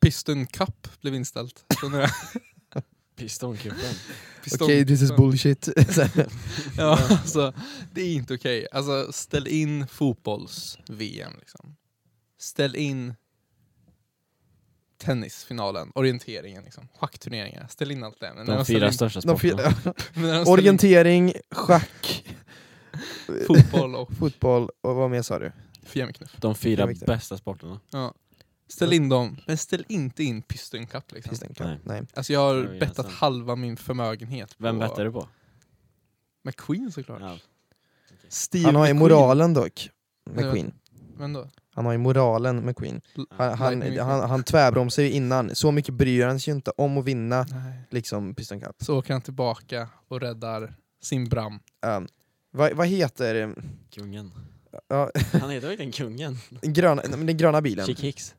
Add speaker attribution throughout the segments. Speaker 1: Piston Cup blev inställt. Från det där.
Speaker 2: Pistonkupen.
Speaker 1: Piston-
Speaker 3: Okej, this is bullshit. Så här,
Speaker 1: Ja, alltså, det är inte okej. Alltså, ställ in fotbolls-VM. Liksom. Ställ in tennisfinalen, orienteringen, liksom. schackturneringar. Ställ in allt alltså, det. Men när
Speaker 2: De
Speaker 1: ställer
Speaker 2: fyra
Speaker 1: in-
Speaker 2: största
Speaker 3: de
Speaker 2: sporterna.
Speaker 3: fel-
Speaker 1: men när de ställer in
Speaker 3: Orientering, schack,
Speaker 1: fotboll och
Speaker 3: fotboll och vad mer sa du?
Speaker 1: fjämknuff.
Speaker 2: De fyra
Speaker 3: Viktigt.
Speaker 2: bästa sporterna.
Speaker 1: Ja. Ställ in dem, men ställ inte in Piston Cup. Liksom.
Speaker 3: Piston Cup.
Speaker 2: Nej.
Speaker 3: Nej.
Speaker 1: Alltså, jag har
Speaker 2: Jag är
Speaker 1: bettat
Speaker 2: ledsen.
Speaker 1: halva min förmögenhet på
Speaker 2: Vem bettar du på?
Speaker 1: McQueen såklart.
Speaker 2: Ja.
Speaker 1: Steve
Speaker 3: Han har ju
Speaker 1: McQueen.
Speaker 3: moralen dock, med
Speaker 1: Nej,
Speaker 3: Queen.
Speaker 1: Vem då?
Speaker 3: Han har ju moralen med Queen.
Speaker 1: L-
Speaker 3: Han, han,
Speaker 1: Lightning
Speaker 3: han, han tvärbromsar ju innan, så mycket bryr han sig ju inte om att vinna
Speaker 1: McQueen. Nej.
Speaker 3: liksom Piston Cup.
Speaker 1: Så åker han tillbaka och räddar sin Bram.
Speaker 3: Um, vad, vad heter...
Speaker 2: Kungen.
Speaker 3: Ja,
Speaker 2: Han heter verkligen Kungen.
Speaker 3: gröna, nej, men den gröna bilen.
Speaker 2: Chick Hicks.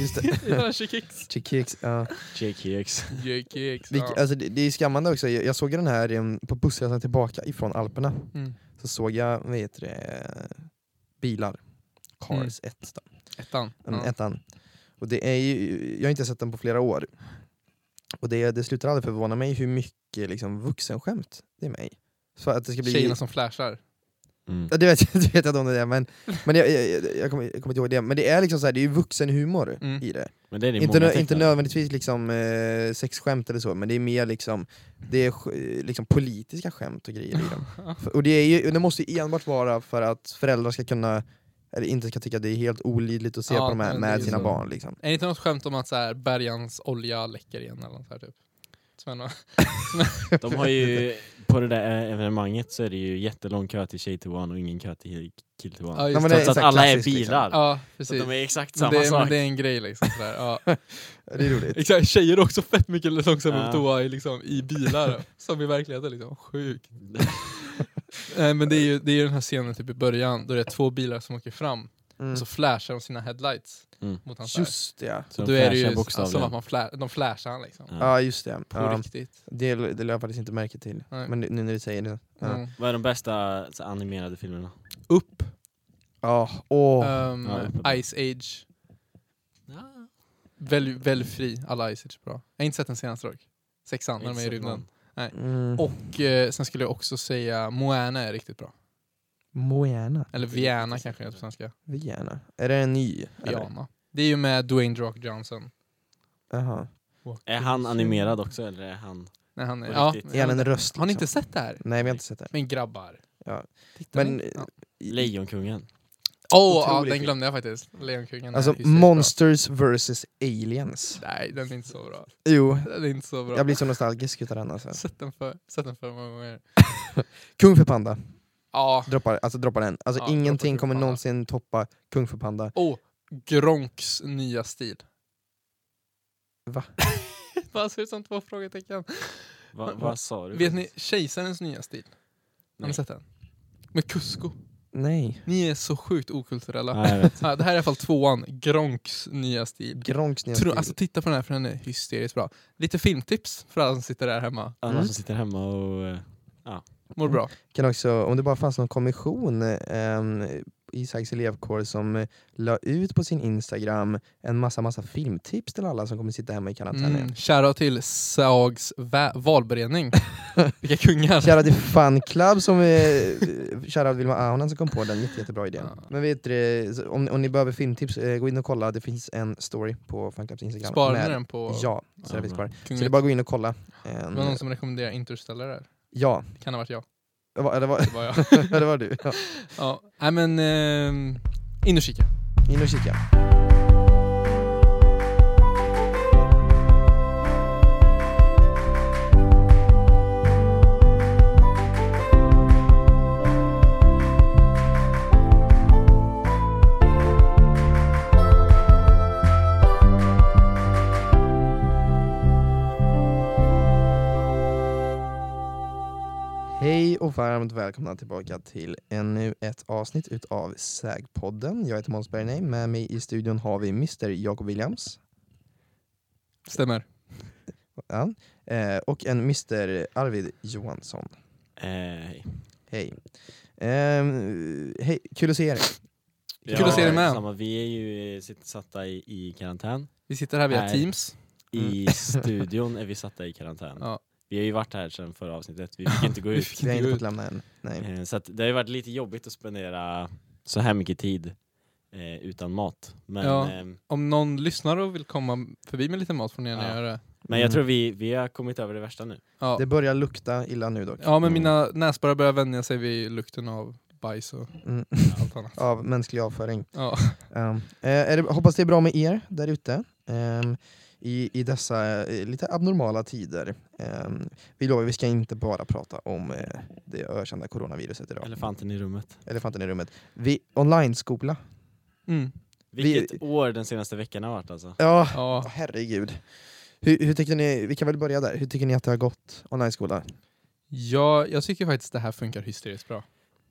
Speaker 3: Just det.
Speaker 1: Chick-Hicks.
Speaker 3: Chick Hicks, ja.
Speaker 2: Jake Hicks.
Speaker 1: Jake Hicks.
Speaker 3: Vilk,
Speaker 1: Ja.
Speaker 3: alltså, det, det är skrämmande också, jag, jag såg den här em, på bussresan tillbaka ifrån Alperna.
Speaker 1: Mm.
Speaker 3: Så såg jag, vad heter det, bilar. Cars 1 då.
Speaker 1: Ettan.
Speaker 3: Mm,
Speaker 1: Mm. Ja.
Speaker 3: Ettan. Och det är ju, jag har inte sett den på flera år. Och det, det slutar aldrig förvåna mig hur mycket liksom, vuxenskämt det är med i. Så att det ska bli...
Speaker 1: Tjejerna som flashar.
Speaker 2: Mm.
Speaker 3: Ja, det vet, det vet jag inte om det är, men, men jag, jag, jag, jag, kommer, jag kommer inte ihåg det. Men det är liksom så här, det är ju vuxenhumor
Speaker 1: Mm.
Speaker 3: i det.
Speaker 2: Men det är det
Speaker 3: Inte,
Speaker 2: många
Speaker 3: nö, inte
Speaker 2: tecknare.
Speaker 3: nödvändigtvis liksom, eh, sexskämt eller så, men det är mer liksom, det är, sk- eh, liksom politiska skämt och grejer i dem. F- och det, är ju, det måste ju enbart vara för att föräldrar ska kunna, eller inte ska tycka att det är helt olidligt att se
Speaker 1: Ja,
Speaker 3: på de här
Speaker 1: men det är
Speaker 3: med
Speaker 1: ju
Speaker 3: sina
Speaker 1: så.
Speaker 3: barn. Liksom.
Speaker 1: Är det inte något skämt om att så här, bergans olja läcker igen eller något så här, typ? Sven och-
Speaker 2: De har ju, på det där eh, evenemanget så är det ju jättelång kö till tjejtoan och ingen kö till killtoan.
Speaker 1: Ja,
Speaker 3: Ja,
Speaker 1: just
Speaker 3: men
Speaker 1: det.
Speaker 3: det-
Speaker 2: Trots att
Speaker 3: exakt
Speaker 2: alla är
Speaker 3: klassiskt, liksom.
Speaker 2: bilar.
Speaker 1: Ja,
Speaker 2: Så
Speaker 1: precis.
Speaker 2: de är exakt
Speaker 1: Men
Speaker 2: samma
Speaker 1: det, är, men
Speaker 2: sak.
Speaker 1: det är en grej liksom. Sådär. Ja.
Speaker 3: Det är roligt.
Speaker 1: Exakt, tjejer är också fett mycket långsammare
Speaker 2: Ja.
Speaker 1: på toa i, liksom, i bilar. som i verkligheten liksom. Sjukt. Nej, men det är, ju, det är ju den här scenen typ i början då det är två bilar som åker fram
Speaker 3: Mm.
Speaker 1: och så flashar de sina headlights
Speaker 2: Mm.
Speaker 1: mot hans där.
Speaker 3: Just det ja.
Speaker 2: Så
Speaker 1: Då är det ju
Speaker 2: flashar
Speaker 1: s- som
Speaker 2: bokstavligen.
Speaker 1: att man fla- de flashar han liksom.
Speaker 2: Ja.
Speaker 3: Ja just det.
Speaker 1: På
Speaker 3: Ja,
Speaker 1: riktigt.
Speaker 3: det, det lade jag faktiskt inte märke till.
Speaker 1: Nej.
Speaker 3: Men nu- nu när du säger det. Ja,
Speaker 1: Mm.
Speaker 2: Vad är de bästa så, animerade filmerna?
Speaker 1: Upp,
Speaker 3: Ja, åh.
Speaker 1: ehm,
Speaker 2: Ja, upp och
Speaker 1: Ice Age. Välj, välj fri, alla Ice Age är bra. Jag har inte sett den senaste dock. Sexan, när de är i rymden.
Speaker 3: Mm.
Speaker 1: Och eh, sen skulle jag också säga Moana är riktigt bra.
Speaker 3: Moana.
Speaker 1: Eller
Speaker 2: Det är
Speaker 1: Viana
Speaker 2: riktigt
Speaker 1: kanske det heter
Speaker 2: bra.
Speaker 1: på svenska.
Speaker 3: Viana. Är det en ny? eller?
Speaker 1: Viana. Det är ju med Dwayne The Rock Johnson.
Speaker 3: Jaha.
Speaker 2: Är han animerad också eller är han...
Speaker 1: Nej, han är,
Speaker 2: På
Speaker 1: ja,
Speaker 2: riktigt.
Speaker 3: Är han en röst?
Speaker 1: Har ni inte
Speaker 3: liksom?
Speaker 1: sett det här?
Speaker 3: Nej vi har inte sett det.
Speaker 1: Men grabbar.
Speaker 3: Ja.
Speaker 1: Tittar
Speaker 3: Men- eh,
Speaker 1: ni? Ja.
Speaker 2: Lejonkungen?
Speaker 1: Åh, ja,
Speaker 3: Otrolig
Speaker 1: den
Speaker 3: film.
Speaker 1: glömde jag faktiskt. Lejonkungen är
Speaker 3: Alltså
Speaker 1: hysteriskt
Speaker 3: Monsters vs Aliens.
Speaker 1: bra. Nej, den är inte så bra.
Speaker 3: Jo,
Speaker 1: Den är inte så bra.
Speaker 3: jag blir så nostalgisk utav den alltså.
Speaker 1: Sett den för, sett den för många gånger.
Speaker 3: Kung för Panda,
Speaker 1: Ja.
Speaker 3: droppar, alltså droppar den. Alltså
Speaker 1: Ja, droppar
Speaker 3: ingenting
Speaker 1: Kung för
Speaker 3: kommer
Speaker 1: Panda.
Speaker 3: någonsin toppa Kung för Panda.
Speaker 1: Oh, Gronks nya stil.
Speaker 3: Va?
Speaker 1: Vad ser ut som två frågetecken.
Speaker 2: Va, vad sa du?
Speaker 1: Vet ni Kejsarens nya stil? Har ni
Speaker 2: Nej.
Speaker 1: sett den? Med Kusko.
Speaker 3: Nej.
Speaker 1: Ni är så sjukt okulturella.
Speaker 2: Ja, jag vet.
Speaker 1: Ja, det här är i alla fall tvåan, Gronks nya stil.
Speaker 3: Gronks nya
Speaker 1: Tro,
Speaker 3: stil.
Speaker 1: alltså titta på den här för den är hysteriskt bra. Lite filmtips för alla som sitter där hemma.
Speaker 2: Alla
Speaker 3: Mm.
Speaker 2: som sitter hemma och... eh,
Speaker 1: Mår bra.
Speaker 3: kan också, om det bara fanns någon kommission ehm, i Saigs elevkår som eh, la ut på sin Instagram en massa, massa filmtips till alla som kommer sitta hemma i karantänen.
Speaker 1: Mm, shoutout till Sags va- valberedning. Vilka kungar.
Speaker 3: Shoutout till Fun Club som eh, shoutout Vilma Ahonen som kom på den jätte, jättebra idén.
Speaker 1: Ja.
Speaker 3: Men vet du, så om, om ni behöver filmtips, eh, gå in och kolla, det finns en story på Fun Clubs Instagram.
Speaker 1: Sparar ni
Speaker 3: med-
Speaker 1: den på
Speaker 3: Ja, så
Speaker 2: Ja,
Speaker 3: det finns
Speaker 2: bra.
Speaker 3: kvar. Så det är
Speaker 1: kungligt?
Speaker 3: bara att gå in och kolla.
Speaker 1: Det
Speaker 3: En,
Speaker 1: var någon som rekommenderade Interstellar där.
Speaker 3: Ja,
Speaker 1: Det kan ha varit jag.
Speaker 3: det var, det, var,
Speaker 1: Det var jag.
Speaker 3: det var du. Ja.
Speaker 1: Ja, nej men ehm, in och kika.
Speaker 3: In och kika. Hej och varmt välkomna tillbaka till ännu ett avsnitt utav Sägpodden. Jag heter Måns Bergney, med mig i studion har vi Mr Jacob Williams
Speaker 1: Stämmer.
Speaker 3: ja, eh, och en Mr Arvid Johansson.
Speaker 2: Eh,
Speaker 3: Hej. Ehm, hej, kul att se er.
Speaker 1: Kul att se dig med.
Speaker 2: Samma, vi är ju eh, sitt- satta i, i karantän.
Speaker 1: Vi sitter här via
Speaker 2: Nej.
Speaker 1: Teams.
Speaker 2: I studion är vi satta i karantän.
Speaker 1: Mm. Ja.
Speaker 2: Vi har ju varit här sedan förra avsnittet, vi fick inte gå
Speaker 1: Vi
Speaker 2: ut.
Speaker 1: fick
Speaker 3: Vi har
Speaker 1: inte
Speaker 3: inte
Speaker 1: gå
Speaker 3: fått
Speaker 1: ut.
Speaker 3: lämna än. Nej.
Speaker 2: Eh, Så att det har ju varit lite jobbigt att spendera så här mycket tid eh, utan mat. Men,
Speaker 1: Ja.
Speaker 2: eh,
Speaker 1: Om någon lyssnar och vill komma förbi med lite mat får ni gärna
Speaker 2: Ja.
Speaker 1: göra det.
Speaker 2: men jag tror vi, vi har kommit över det värsta nu.
Speaker 1: Ja.
Speaker 3: Det börjar lukta illa nu dock.
Speaker 1: ja, men mina näsborrar börjar vänja sig vid lukten av bajs och
Speaker 3: Mm.
Speaker 1: allt annat.
Speaker 3: Av mänsklig avföring.
Speaker 1: Ja.
Speaker 3: Um, eh, är det, hoppas det är bra med er där ute. ehm, i, I dessa eh, lite abnormala tider. Ehm, vi lovar, vi ska inte bara prata om eh, det ökända coronaviruset idag.
Speaker 2: Elefanten i rummet.
Speaker 3: Elefanten i rummet. Vi, online-skola.
Speaker 1: Mm.
Speaker 3: Vi-
Speaker 2: Vilket år den senaste veckan har varit alltså.
Speaker 3: Ja,
Speaker 1: ja.
Speaker 3: herregud. Hur, hur tyckte ni, vi kan väl börja där. Hur tycker ni att det har gått, online-skola?
Speaker 1: Ja, jag tycker faktiskt det här funkar hysteriskt bra.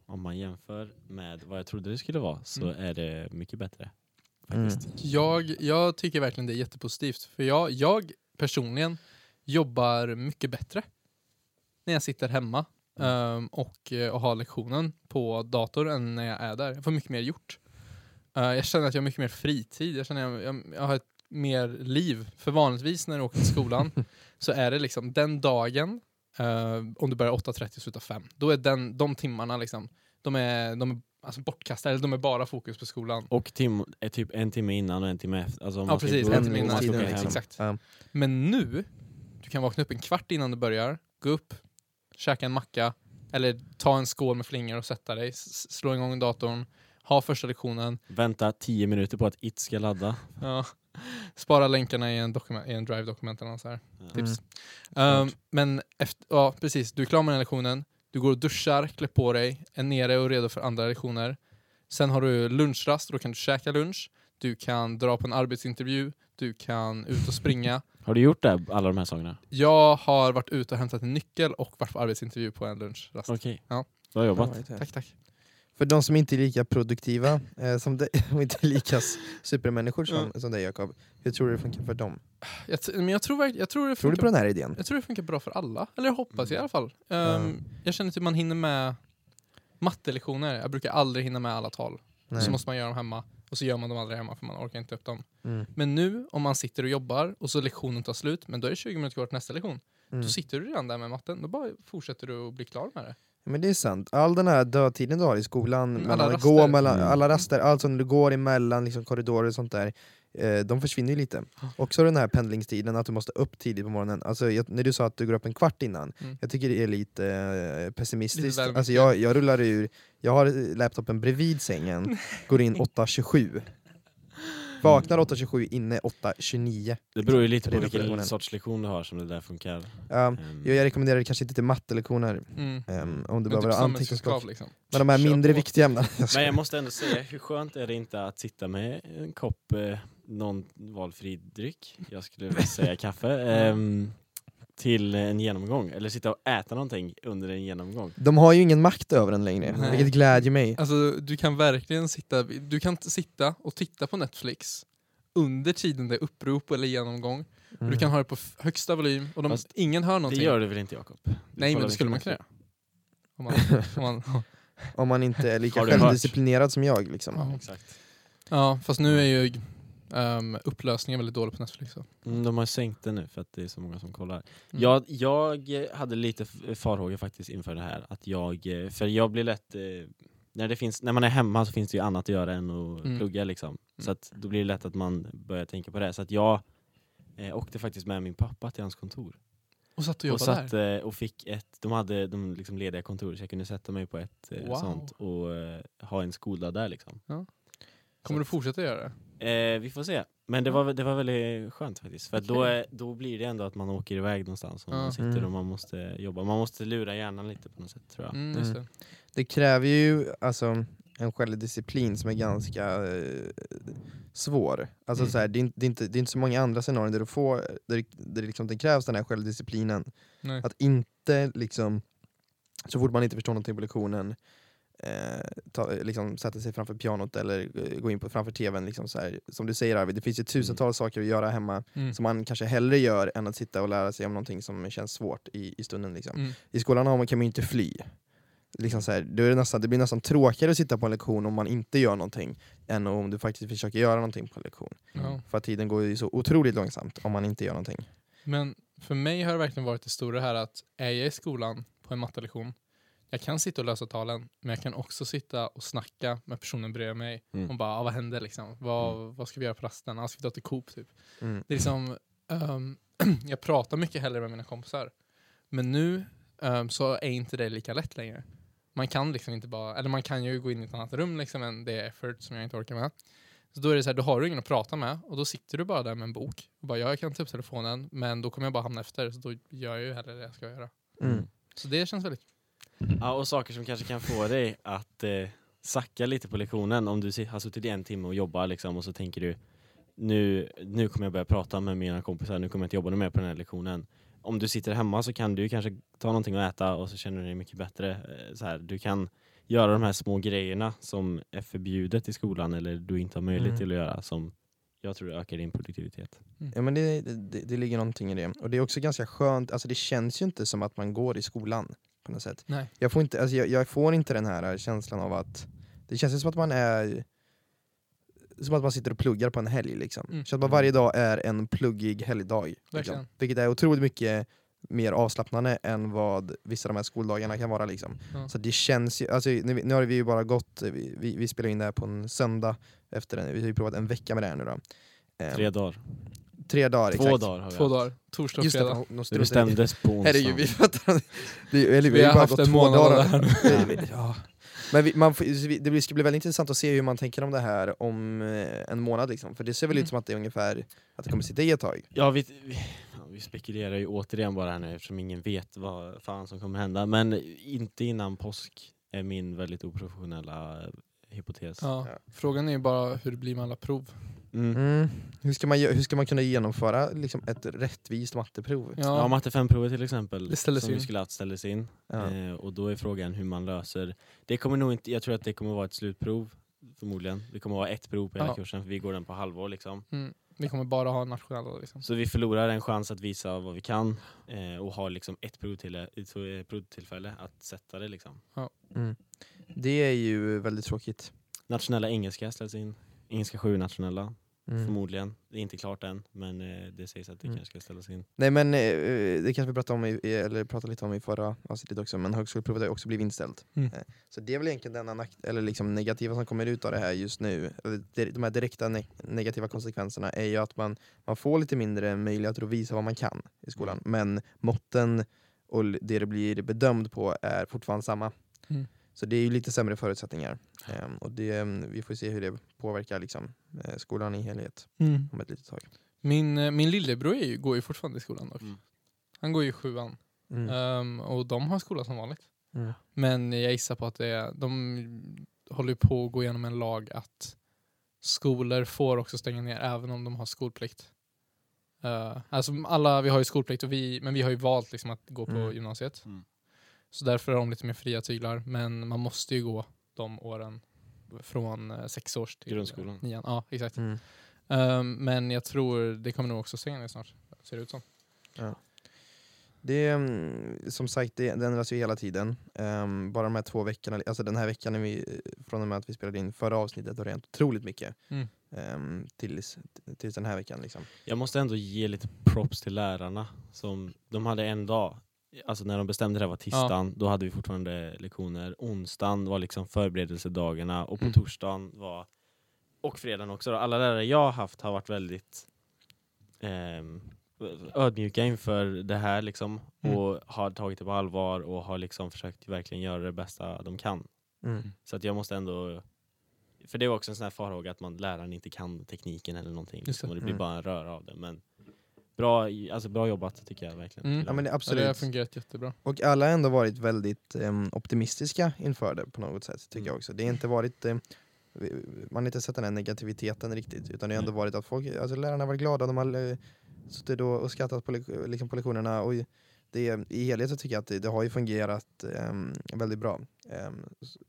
Speaker 2: Om man jämför med vad jag trodde det skulle vara så
Speaker 1: Mm.
Speaker 2: är det mycket bättre.
Speaker 3: Mm.
Speaker 2: Faktiskt.
Speaker 1: Jag, jag tycker verkligen det är jättepositivt. För jag, jag personligen jobbar mycket bättre när jag sitter hemma ehm, och, eh, och har lektionen på dator än när jag är där. Jag får mycket mer gjort. Eh, jag känner att jag har mycket mer fritid. Jag känner att jag, jag, jag har ett mer liv. För vanligtvis när du åker till skolan så är det liksom den dagen, eh, om du börjar 8.30 och slutar 5, då är den, de timmarna liksom, de är, de är alltså bortkastade, eller de är bara fokus på skolan.
Speaker 2: Och tim, är typ en timme innan och en timme efter. Alltså om
Speaker 1: Ja
Speaker 2: man ska
Speaker 1: precis,
Speaker 2: gå
Speaker 1: en
Speaker 2: ut
Speaker 1: timme
Speaker 2: och man
Speaker 1: innan.
Speaker 2: ska åka
Speaker 3: tiden,
Speaker 2: hem.
Speaker 3: liksom.
Speaker 1: Exakt.
Speaker 3: Ja.
Speaker 1: Men nu, du kan vakna upp en kvart innan du börjar, gå upp, käka en macka, eller ta en skål med flingor och sätta dig, s- slå igång datorn, ha första lektionen,
Speaker 2: Vänta 10 minuter på att it ska ladda.
Speaker 1: ja, spara länkarna i en, dokument, i en drive-dokument eller något så här.
Speaker 2: Ja.
Speaker 1: Tips. Ehm, men efter, ja, precis, du är klar med den lektionen, du går och duschar, klär på dig, är nere och redo för andra lektioner. Sen har du lunchrast, då kan du käka lunch, du kan dra på en arbetsintervju, du kan ut och springa,
Speaker 2: Har du gjort det, här, alla de här sakerna?
Speaker 1: Jag har varit ute och hämtat en nyckel och varit på arbetsintervju på en lunchrast.
Speaker 2: Okej.
Speaker 1: Ja.
Speaker 2: Du har jobbat.
Speaker 1: Tack, tack.
Speaker 3: För de som inte är lika produktiva, eh, som de, och inte är lika s- supermänniskor som, som dig Jakob, hur tror du det funkar för dem?
Speaker 1: Jag, t- men jag tror, verk- jag, tror det
Speaker 3: Tror
Speaker 1: funkar,
Speaker 3: du på den här idén?
Speaker 1: jag tror det funkar bra för alla. Eller jag hoppas
Speaker 2: Mm.
Speaker 1: i alla fall. Ehm,
Speaker 3: Mm.
Speaker 1: Jag känner att man hinner med mattelektioner. Jag brukar aldrig hinna med alla tal.
Speaker 3: Nej.
Speaker 1: Så måste man göra dem hemma. Och så gör man dem aldrig hemma för man orkar inte upp dem.
Speaker 3: Mm.
Speaker 1: Men nu om man sitter och jobbar och så lektionen tar slut, men då är det 20 minuter kvar till nästa lektion.
Speaker 3: Mm.
Speaker 1: Då sitter du redan där med matten. Då bara fortsätter du och blir klar med det.
Speaker 3: Men det är sant. All den här dödtiden du har i skolan,
Speaker 1: Mm,
Speaker 3: mellan
Speaker 1: alla
Speaker 3: att gå
Speaker 1: raster.
Speaker 3: mellan,
Speaker 2: Mm.
Speaker 3: alla raster, allt som du går emellan liksom, korridorer och sånt där, eh, de försvinner ju lite.
Speaker 1: Ah.
Speaker 3: Också den här pendlingstiden, att du måste upp tidigt på morgonen. Alltså, jag, när du sa att du går upp en kvart innan,
Speaker 1: Mm.
Speaker 3: jag tycker det är lite eh,
Speaker 1: Lite
Speaker 3: pessimistiskt.
Speaker 1: väl mycket.
Speaker 3: Alltså, jag, jag rullar ur, jag har eh, laptopen bredvid sängen, går in 8.27. Vaknar 8.27, inne 8.29.
Speaker 2: Det beror ju lite
Speaker 3: Det
Speaker 2: på
Speaker 3: är lektionen.
Speaker 2: vilken sorts lektion du har som det där funkar.
Speaker 3: Um,
Speaker 2: Ehm,
Speaker 3: jag, jag rekommenderar kanske inte till mattelektioner,
Speaker 1: Mm.
Speaker 3: ehm, om
Speaker 1: Men
Speaker 3: du behöver
Speaker 1: typ
Speaker 3: ha anteckningsblock.
Speaker 1: samhällskunskap liksom.
Speaker 3: Men de här
Speaker 1: Kör
Speaker 3: mindre
Speaker 1: på.
Speaker 3: viktiga ämnena.
Speaker 2: Men jag måste ändå säga, hur skönt är det inte att sitta med en kopp eh, någon valfri dryck, jag skulle vilja säga kaffe, ehm, till en genomgång. Eller sitta och äta någonting under en genomgång.
Speaker 3: De har ju ingen makt över den längre,
Speaker 1: Nej.
Speaker 3: vilket glädjer mig.
Speaker 1: Alltså du kan verkligen sitta, du kan t- sitta och titta på Netflix under tiden det är upprop eller genomgång.
Speaker 3: Mm.
Speaker 1: Du kan ha det på f- högsta volym och de,
Speaker 2: Fast
Speaker 1: ingen hör
Speaker 2: Det
Speaker 1: någonting.
Speaker 2: gör du väl inte Jakob? Du
Speaker 1: Nej men
Speaker 2: kollar
Speaker 1: det skulle man
Speaker 2: inte
Speaker 1: kunna
Speaker 2: på
Speaker 1: göra. Om man, om man,
Speaker 3: Mm. Om man inte är lika
Speaker 2: Har du hört?
Speaker 3: självdisciplinerad som jag. Liksom.
Speaker 2: Netflix.
Speaker 1: ja.
Speaker 2: Exakt.
Speaker 1: ja fast nu är ju ehm, upplösningen väldigt dålig på Netflix. Så.
Speaker 2: Mm, de har sänkt det nu för att det är så många som kollar.
Speaker 1: Mm.
Speaker 2: Jag, jag eh, hade lite f- farhågor faktiskt inför det här. Att jag, eh, för jag blir lätt... eh, När, det finns, när man är hemma så finns det ju annat att göra än att
Speaker 1: Mm.
Speaker 2: plugga. Liksom. Så att då blir det lätt att man börjar tänka på det. Så att jag eh, åkte faktiskt med min pappa till hans kontor.
Speaker 1: Och satt och jobbade
Speaker 2: och satt
Speaker 1: där.
Speaker 2: eh, och fick ett... De hade de liksom lediga kontor så jag kunde sätta mig på ett eh,
Speaker 1: Wow.
Speaker 2: sånt och eh, ha en skola där. Liksom.
Speaker 1: Kommer du fortsätta göra det?
Speaker 2: Eh, vi får se. Men det
Speaker 1: Ja.
Speaker 2: var, det var väldigt skönt faktiskt. För att då,
Speaker 1: Okej.
Speaker 2: är- då blir det ändå att man åker iväg någonstans och
Speaker 1: Ja.
Speaker 2: man sitter
Speaker 3: Mm.
Speaker 2: och man måste jobba. Man måste lura hjärnan lite på något sätt tror jag.
Speaker 1: Mm, just det.
Speaker 3: Mm. Det kräver ju alltså, en självdisciplin som är ganska eh, svår. Alltså,
Speaker 1: Mm.
Speaker 3: så här, det, är, inte- det, är inte, det är inte så många andra scenarion där, du får, där, där liksom, det krävs den här självdisciplinen.
Speaker 1: Nej.
Speaker 3: Att inte, liksom, så fort man inte förstår någonting på lektionen, eh, ta, liksom, sätta sig framför pianot eller eh, gå in på, framför tvn. Liksom, så här. Som du säger Arvid, det finns ju tusentals saker att göra hemma.
Speaker 1: Mm.
Speaker 3: som man kanske hellre gör än att sitta och lära sig om någonting som känns svårt i, i stunden. Liksom.
Speaker 1: Mm.
Speaker 3: I skolan har man, kan man ju inte fly. liksom så här, då är det, nästan, det blir nästan tråkigare att sitta på en lektion om man inte gör någonting än om du faktiskt försöker göra någonting på en lektion.
Speaker 1: Ja.
Speaker 3: För att tiden går ju så otroligt långsamt om man inte gör någonting.
Speaker 1: Men för mig har det verkligen varit det stora här att är jag i skolan på en mattelektion, jag kan sitta och lösa talen, men jag kan också sitta och snacka med personen bredvid mig.
Speaker 2: Mm.
Speaker 1: Och bara, ah, vad händer liksom? Vad, vad ska vi göra på rasten? Ah, ska vi ta till Coop typ?
Speaker 3: Mm.
Speaker 1: Det är liksom, ehm, jag pratar mycket hellre med mina kompisar. Men nu ehm, så är inte det lika lätt längre. Man kan liksom inte bara, eller man kan ju gå in i ett annat rum liksom än det effort som jag inte orkar med. Så då är det så här, då har du ingen att prata med och då sitter du bara där med en bok. Och bara, ja, jag kan ta upp telefonen men då kommer jag bara hamna efter så då gör jag ju hellre det jag ska göra.
Speaker 3: Mm.
Speaker 1: Så det känns väldigt...
Speaker 2: Ja, och saker som kanske kan få dig att eh, sacka lite på lektionen om du si- har suttit i en timme och jobbar liksom, och så tänker du nu, nu kommer jag börja prata med mina kompisar, nu kommer jag inte jobba mer på den här lektionen. Om du sitter hemma så kan du ju kanske ta någonting att äta och så känner du dig mycket bättre. Eh, Så här, du kan göra de här små grejerna som är förbjudet i skolan eller du inte har möjlighet
Speaker 3: Mm.
Speaker 2: till att göra som jag tror ökar din produktivitet.
Speaker 3: Ja, men det, det, det ligger någonting i det. Och det är också ganska skönt, alltså det känns ju inte som att man går i skolan på något sätt.
Speaker 1: Nej.
Speaker 3: Jag får inte, alltså jag, jag får inte den här känslan av att, det känns ju som att man är som att man sitter och pluggar på en helg liksom.
Speaker 1: Mm.
Speaker 3: Så att man varje dag är en pluggig helgdag. Liksom.
Speaker 1: Verkligen.
Speaker 3: Vilket är otroligt mycket mer avslappnande än vad vissa av de här skoldagarna kan vara liksom.
Speaker 1: Ja.
Speaker 3: Så det känns ju, alltså, nu, nu har vi ju bara gått, vi, vi, vi spelar in det här på en söndag efter en, vi har ju provat en vecka med det här nu då. Ehm,
Speaker 2: Tre dagar.
Speaker 3: tre dagar
Speaker 2: Två
Speaker 3: exakt.
Speaker 2: dagar har vi
Speaker 1: Två
Speaker 2: haft.
Speaker 1: dagar, torsdag och
Speaker 3: Just det,
Speaker 1: fredag.
Speaker 3: de, de
Speaker 2: Det
Speaker 3: struntade i det.
Speaker 2: bestämdes på
Speaker 3: Herregud, vi fattar det, är- eller,
Speaker 1: Vi har
Speaker 3: bara
Speaker 1: haft
Speaker 3: gått
Speaker 1: en
Speaker 3: två
Speaker 1: månad
Speaker 3: dagar.
Speaker 1: av det här
Speaker 3: Vi- ja. Men vi, man, får- så vi- det blir- ska bli väldigt intressant att se hur man tänker om det här om eh, en månad liksom. För det ser väl
Speaker 1: Mm.
Speaker 3: ut som att det är ungefär att det kommer sitta i ett tag.
Speaker 2: Ja, vi, vi, fan, vi spekulerar ju återigen bara här nu eftersom ingen vet vad fan som kommer hända. Men inte innan påsk är min väldigt oprofessionella eh, hypotes.
Speaker 1: Ja.
Speaker 3: Ja.
Speaker 1: Frågan är ju bara hur det blir med alla prov.
Speaker 2: Mm.
Speaker 3: Mm. Hur, ska man, gö- hur ska man kunna genomföra liksom, ett rättvist matteprov?
Speaker 1: Ja,
Speaker 2: Ja, matte 5-provet till exempel
Speaker 1: Det ställdes
Speaker 2: som
Speaker 1: in.
Speaker 2: vi skulle haft ställdes in.
Speaker 3: Ja.
Speaker 2: Eh, och då är frågan hur man löser. Det kommer nog inte, jag tror att det kommer vara ett slutprov förmodligen. Det kommer vara ett prov på hela
Speaker 1: Ja.
Speaker 2: kursen för vi går den på halvår liksom.
Speaker 1: mm. Vi kommer bara ha nationella liksom.
Speaker 2: Så vi förlorar en chans att visa vad vi kan eh, och har liksom ett prov till, ett provtillfälle att sätta det liksom.
Speaker 3: Mm. Det är ju väldigt tråkigt.
Speaker 2: Nationella engelska ställs in. Engelska 7 nationella,
Speaker 3: Mm.
Speaker 2: förmodligen. Det är inte klart än, men eh, det sägs att det
Speaker 3: Mm.
Speaker 2: kanske ska ställas in.
Speaker 3: Nej men eh, det kanske vi pratade, om i, i- eller pratade lite om i förra avsnittet också, men högskoleprovet har ju också blivit inställt.
Speaker 1: Mm.
Speaker 3: Eh, Så det är väl egentligen denna nack- eller liksom negativa som kommer ut av det här just nu. Eller de- De här direkta ne- negativa konsekvenserna är ju att man, man får lite mindre möjligheter att visa vad man kan i skolan,
Speaker 1: Mm.
Speaker 3: men måtten och l- det det blir bedömd på är fortfarande samma.
Speaker 1: Mm.
Speaker 3: Så det är ju lite sämre förutsättningar. Eh, Och det, eh, vi får se hur det påverkar liksom, eh, skolan i helhet om ett litet tag.
Speaker 1: Min, eh, min lillebror är ju, går ju fortfarande i skolan dock.
Speaker 2: Mm.
Speaker 1: Han går ju i sjuan.
Speaker 3: Mm.
Speaker 1: Ehm, och de har skola som vanligt.
Speaker 3: Mm.
Speaker 1: Men jag gissar på att det är, de håller ju på att gå igenom en lag att skolor får också stänga ner även om de har skolplikt. Eh, alltså alla, vi har ju skolplikt och vi, men vi har ju valt liksom att gå på
Speaker 3: Mm.
Speaker 1: gymnasiet.
Speaker 2: Mm.
Speaker 1: Så därför har de lite mer fria tyglar. Men man måste ju gå de åren från eh, sex års till eh,
Speaker 2: Grundskolan.
Speaker 1: nian. Ja, exakt.
Speaker 3: Mm.
Speaker 1: Ehm, men jag tror det kommer nog också stänga ner snart. Ser det ut som.
Speaker 3: Det är, mm, som sagt, det, det ändras ju hela tiden. Ehm, bara de här två veckorna, alltså den här veckan är vi, från och med att vi spelade in förra avsnittet har det hänt otroligt mycket.
Speaker 1: Mm.
Speaker 3: Ehm, tills, tills den här veckan liksom.
Speaker 2: Jag måste ändå ge lite props till lärarna. Som, de hade en dag, alltså när de bestämde det här var tisdagen, då hade vi fortfarande lektioner. Onsdagen var liksom förberedelsedagarna och på
Speaker 1: Mm.
Speaker 2: torsdagen var, och fredagen också, då, alla lärare jag har haft har varit väldigt ehm, ödmjuka inför det här liksom,
Speaker 1: Mm.
Speaker 2: och har tagit det på allvar och har liksom försökt verkligen göra det bästa de kan.
Speaker 3: Mm.
Speaker 1: Mm.
Speaker 2: Så att jag måste ändå för det var också en sån här farhåga att man, läraren inte kan tekniken eller någonting.
Speaker 1: Just
Speaker 2: Liksom,
Speaker 1: det.
Speaker 2: och det blir
Speaker 3: Mm.
Speaker 2: bara en röra av det. Men bra, i- alltså bra jobbat tycker jag verkligen.
Speaker 1: Mm.
Speaker 2: till
Speaker 3: Ja men det,
Speaker 1: Så det har
Speaker 3: absolut.
Speaker 1: fungerat jättebra.
Speaker 3: Och alla har ändå varit väldigt ehm, optimistiska inför det på något sätt tycker
Speaker 2: Mm.
Speaker 3: jag också. Det har inte varit ehm, vi- man har inte sett den här negativiteten riktigt utan det har ändå
Speaker 2: Nej.
Speaker 3: varit att folk, alltså lärarna har varit glada, de har eh, suttit då och skrattat på, lek- liksom på lektionerna och det, i helhet så tycker jag att det, det har ju fungerat ehm, väldigt bra. Ehm, så,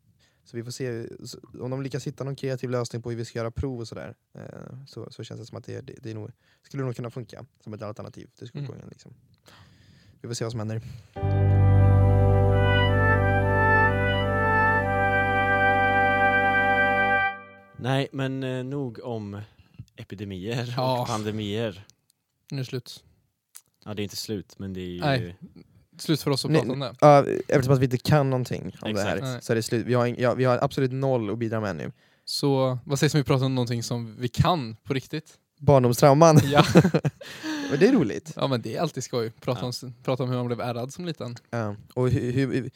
Speaker 3: så vi får se så, om de lyckas hitta någon kreativ lösning på hur vi ska göra prov och sådär eh, så, så känns det som att det, det, det är nog, skulle nog kunna funka som ett alternativ till skolgången. Liksom. Vi får se vad som händer.
Speaker 2: Nej, men eh, nog om epidemier
Speaker 1: Ja.
Speaker 2: och pandemier.
Speaker 1: Nu är det slut.
Speaker 2: Ja, det är inte slut, men det är ju...
Speaker 1: Nej. Slut för oss att
Speaker 3: Nej,
Speaker 1: prata om det.
Speaker 3: Ja, eftersom att vi inte kan någonting om det här
Speaker 1: Exakt.
Speaker 3: så är det slut. Vi har, ing- ja, vi har absolut noll att bidra med ännu.
Speaker 1: Så vad sägs om vi pratar om någonting som vi kan på riktigt?
Speaker 3: Barndomstrauman,
Speaker 1: Ja,
Speaker 3: Men det är roligt.
Speaker 1: ja men det är alltid skoj. Prata,
Speaker 2: Ja.
Speaker 1: om, prata om hur man blev ärrad som liten.
Speaker 3: Ja. Och hur, hur,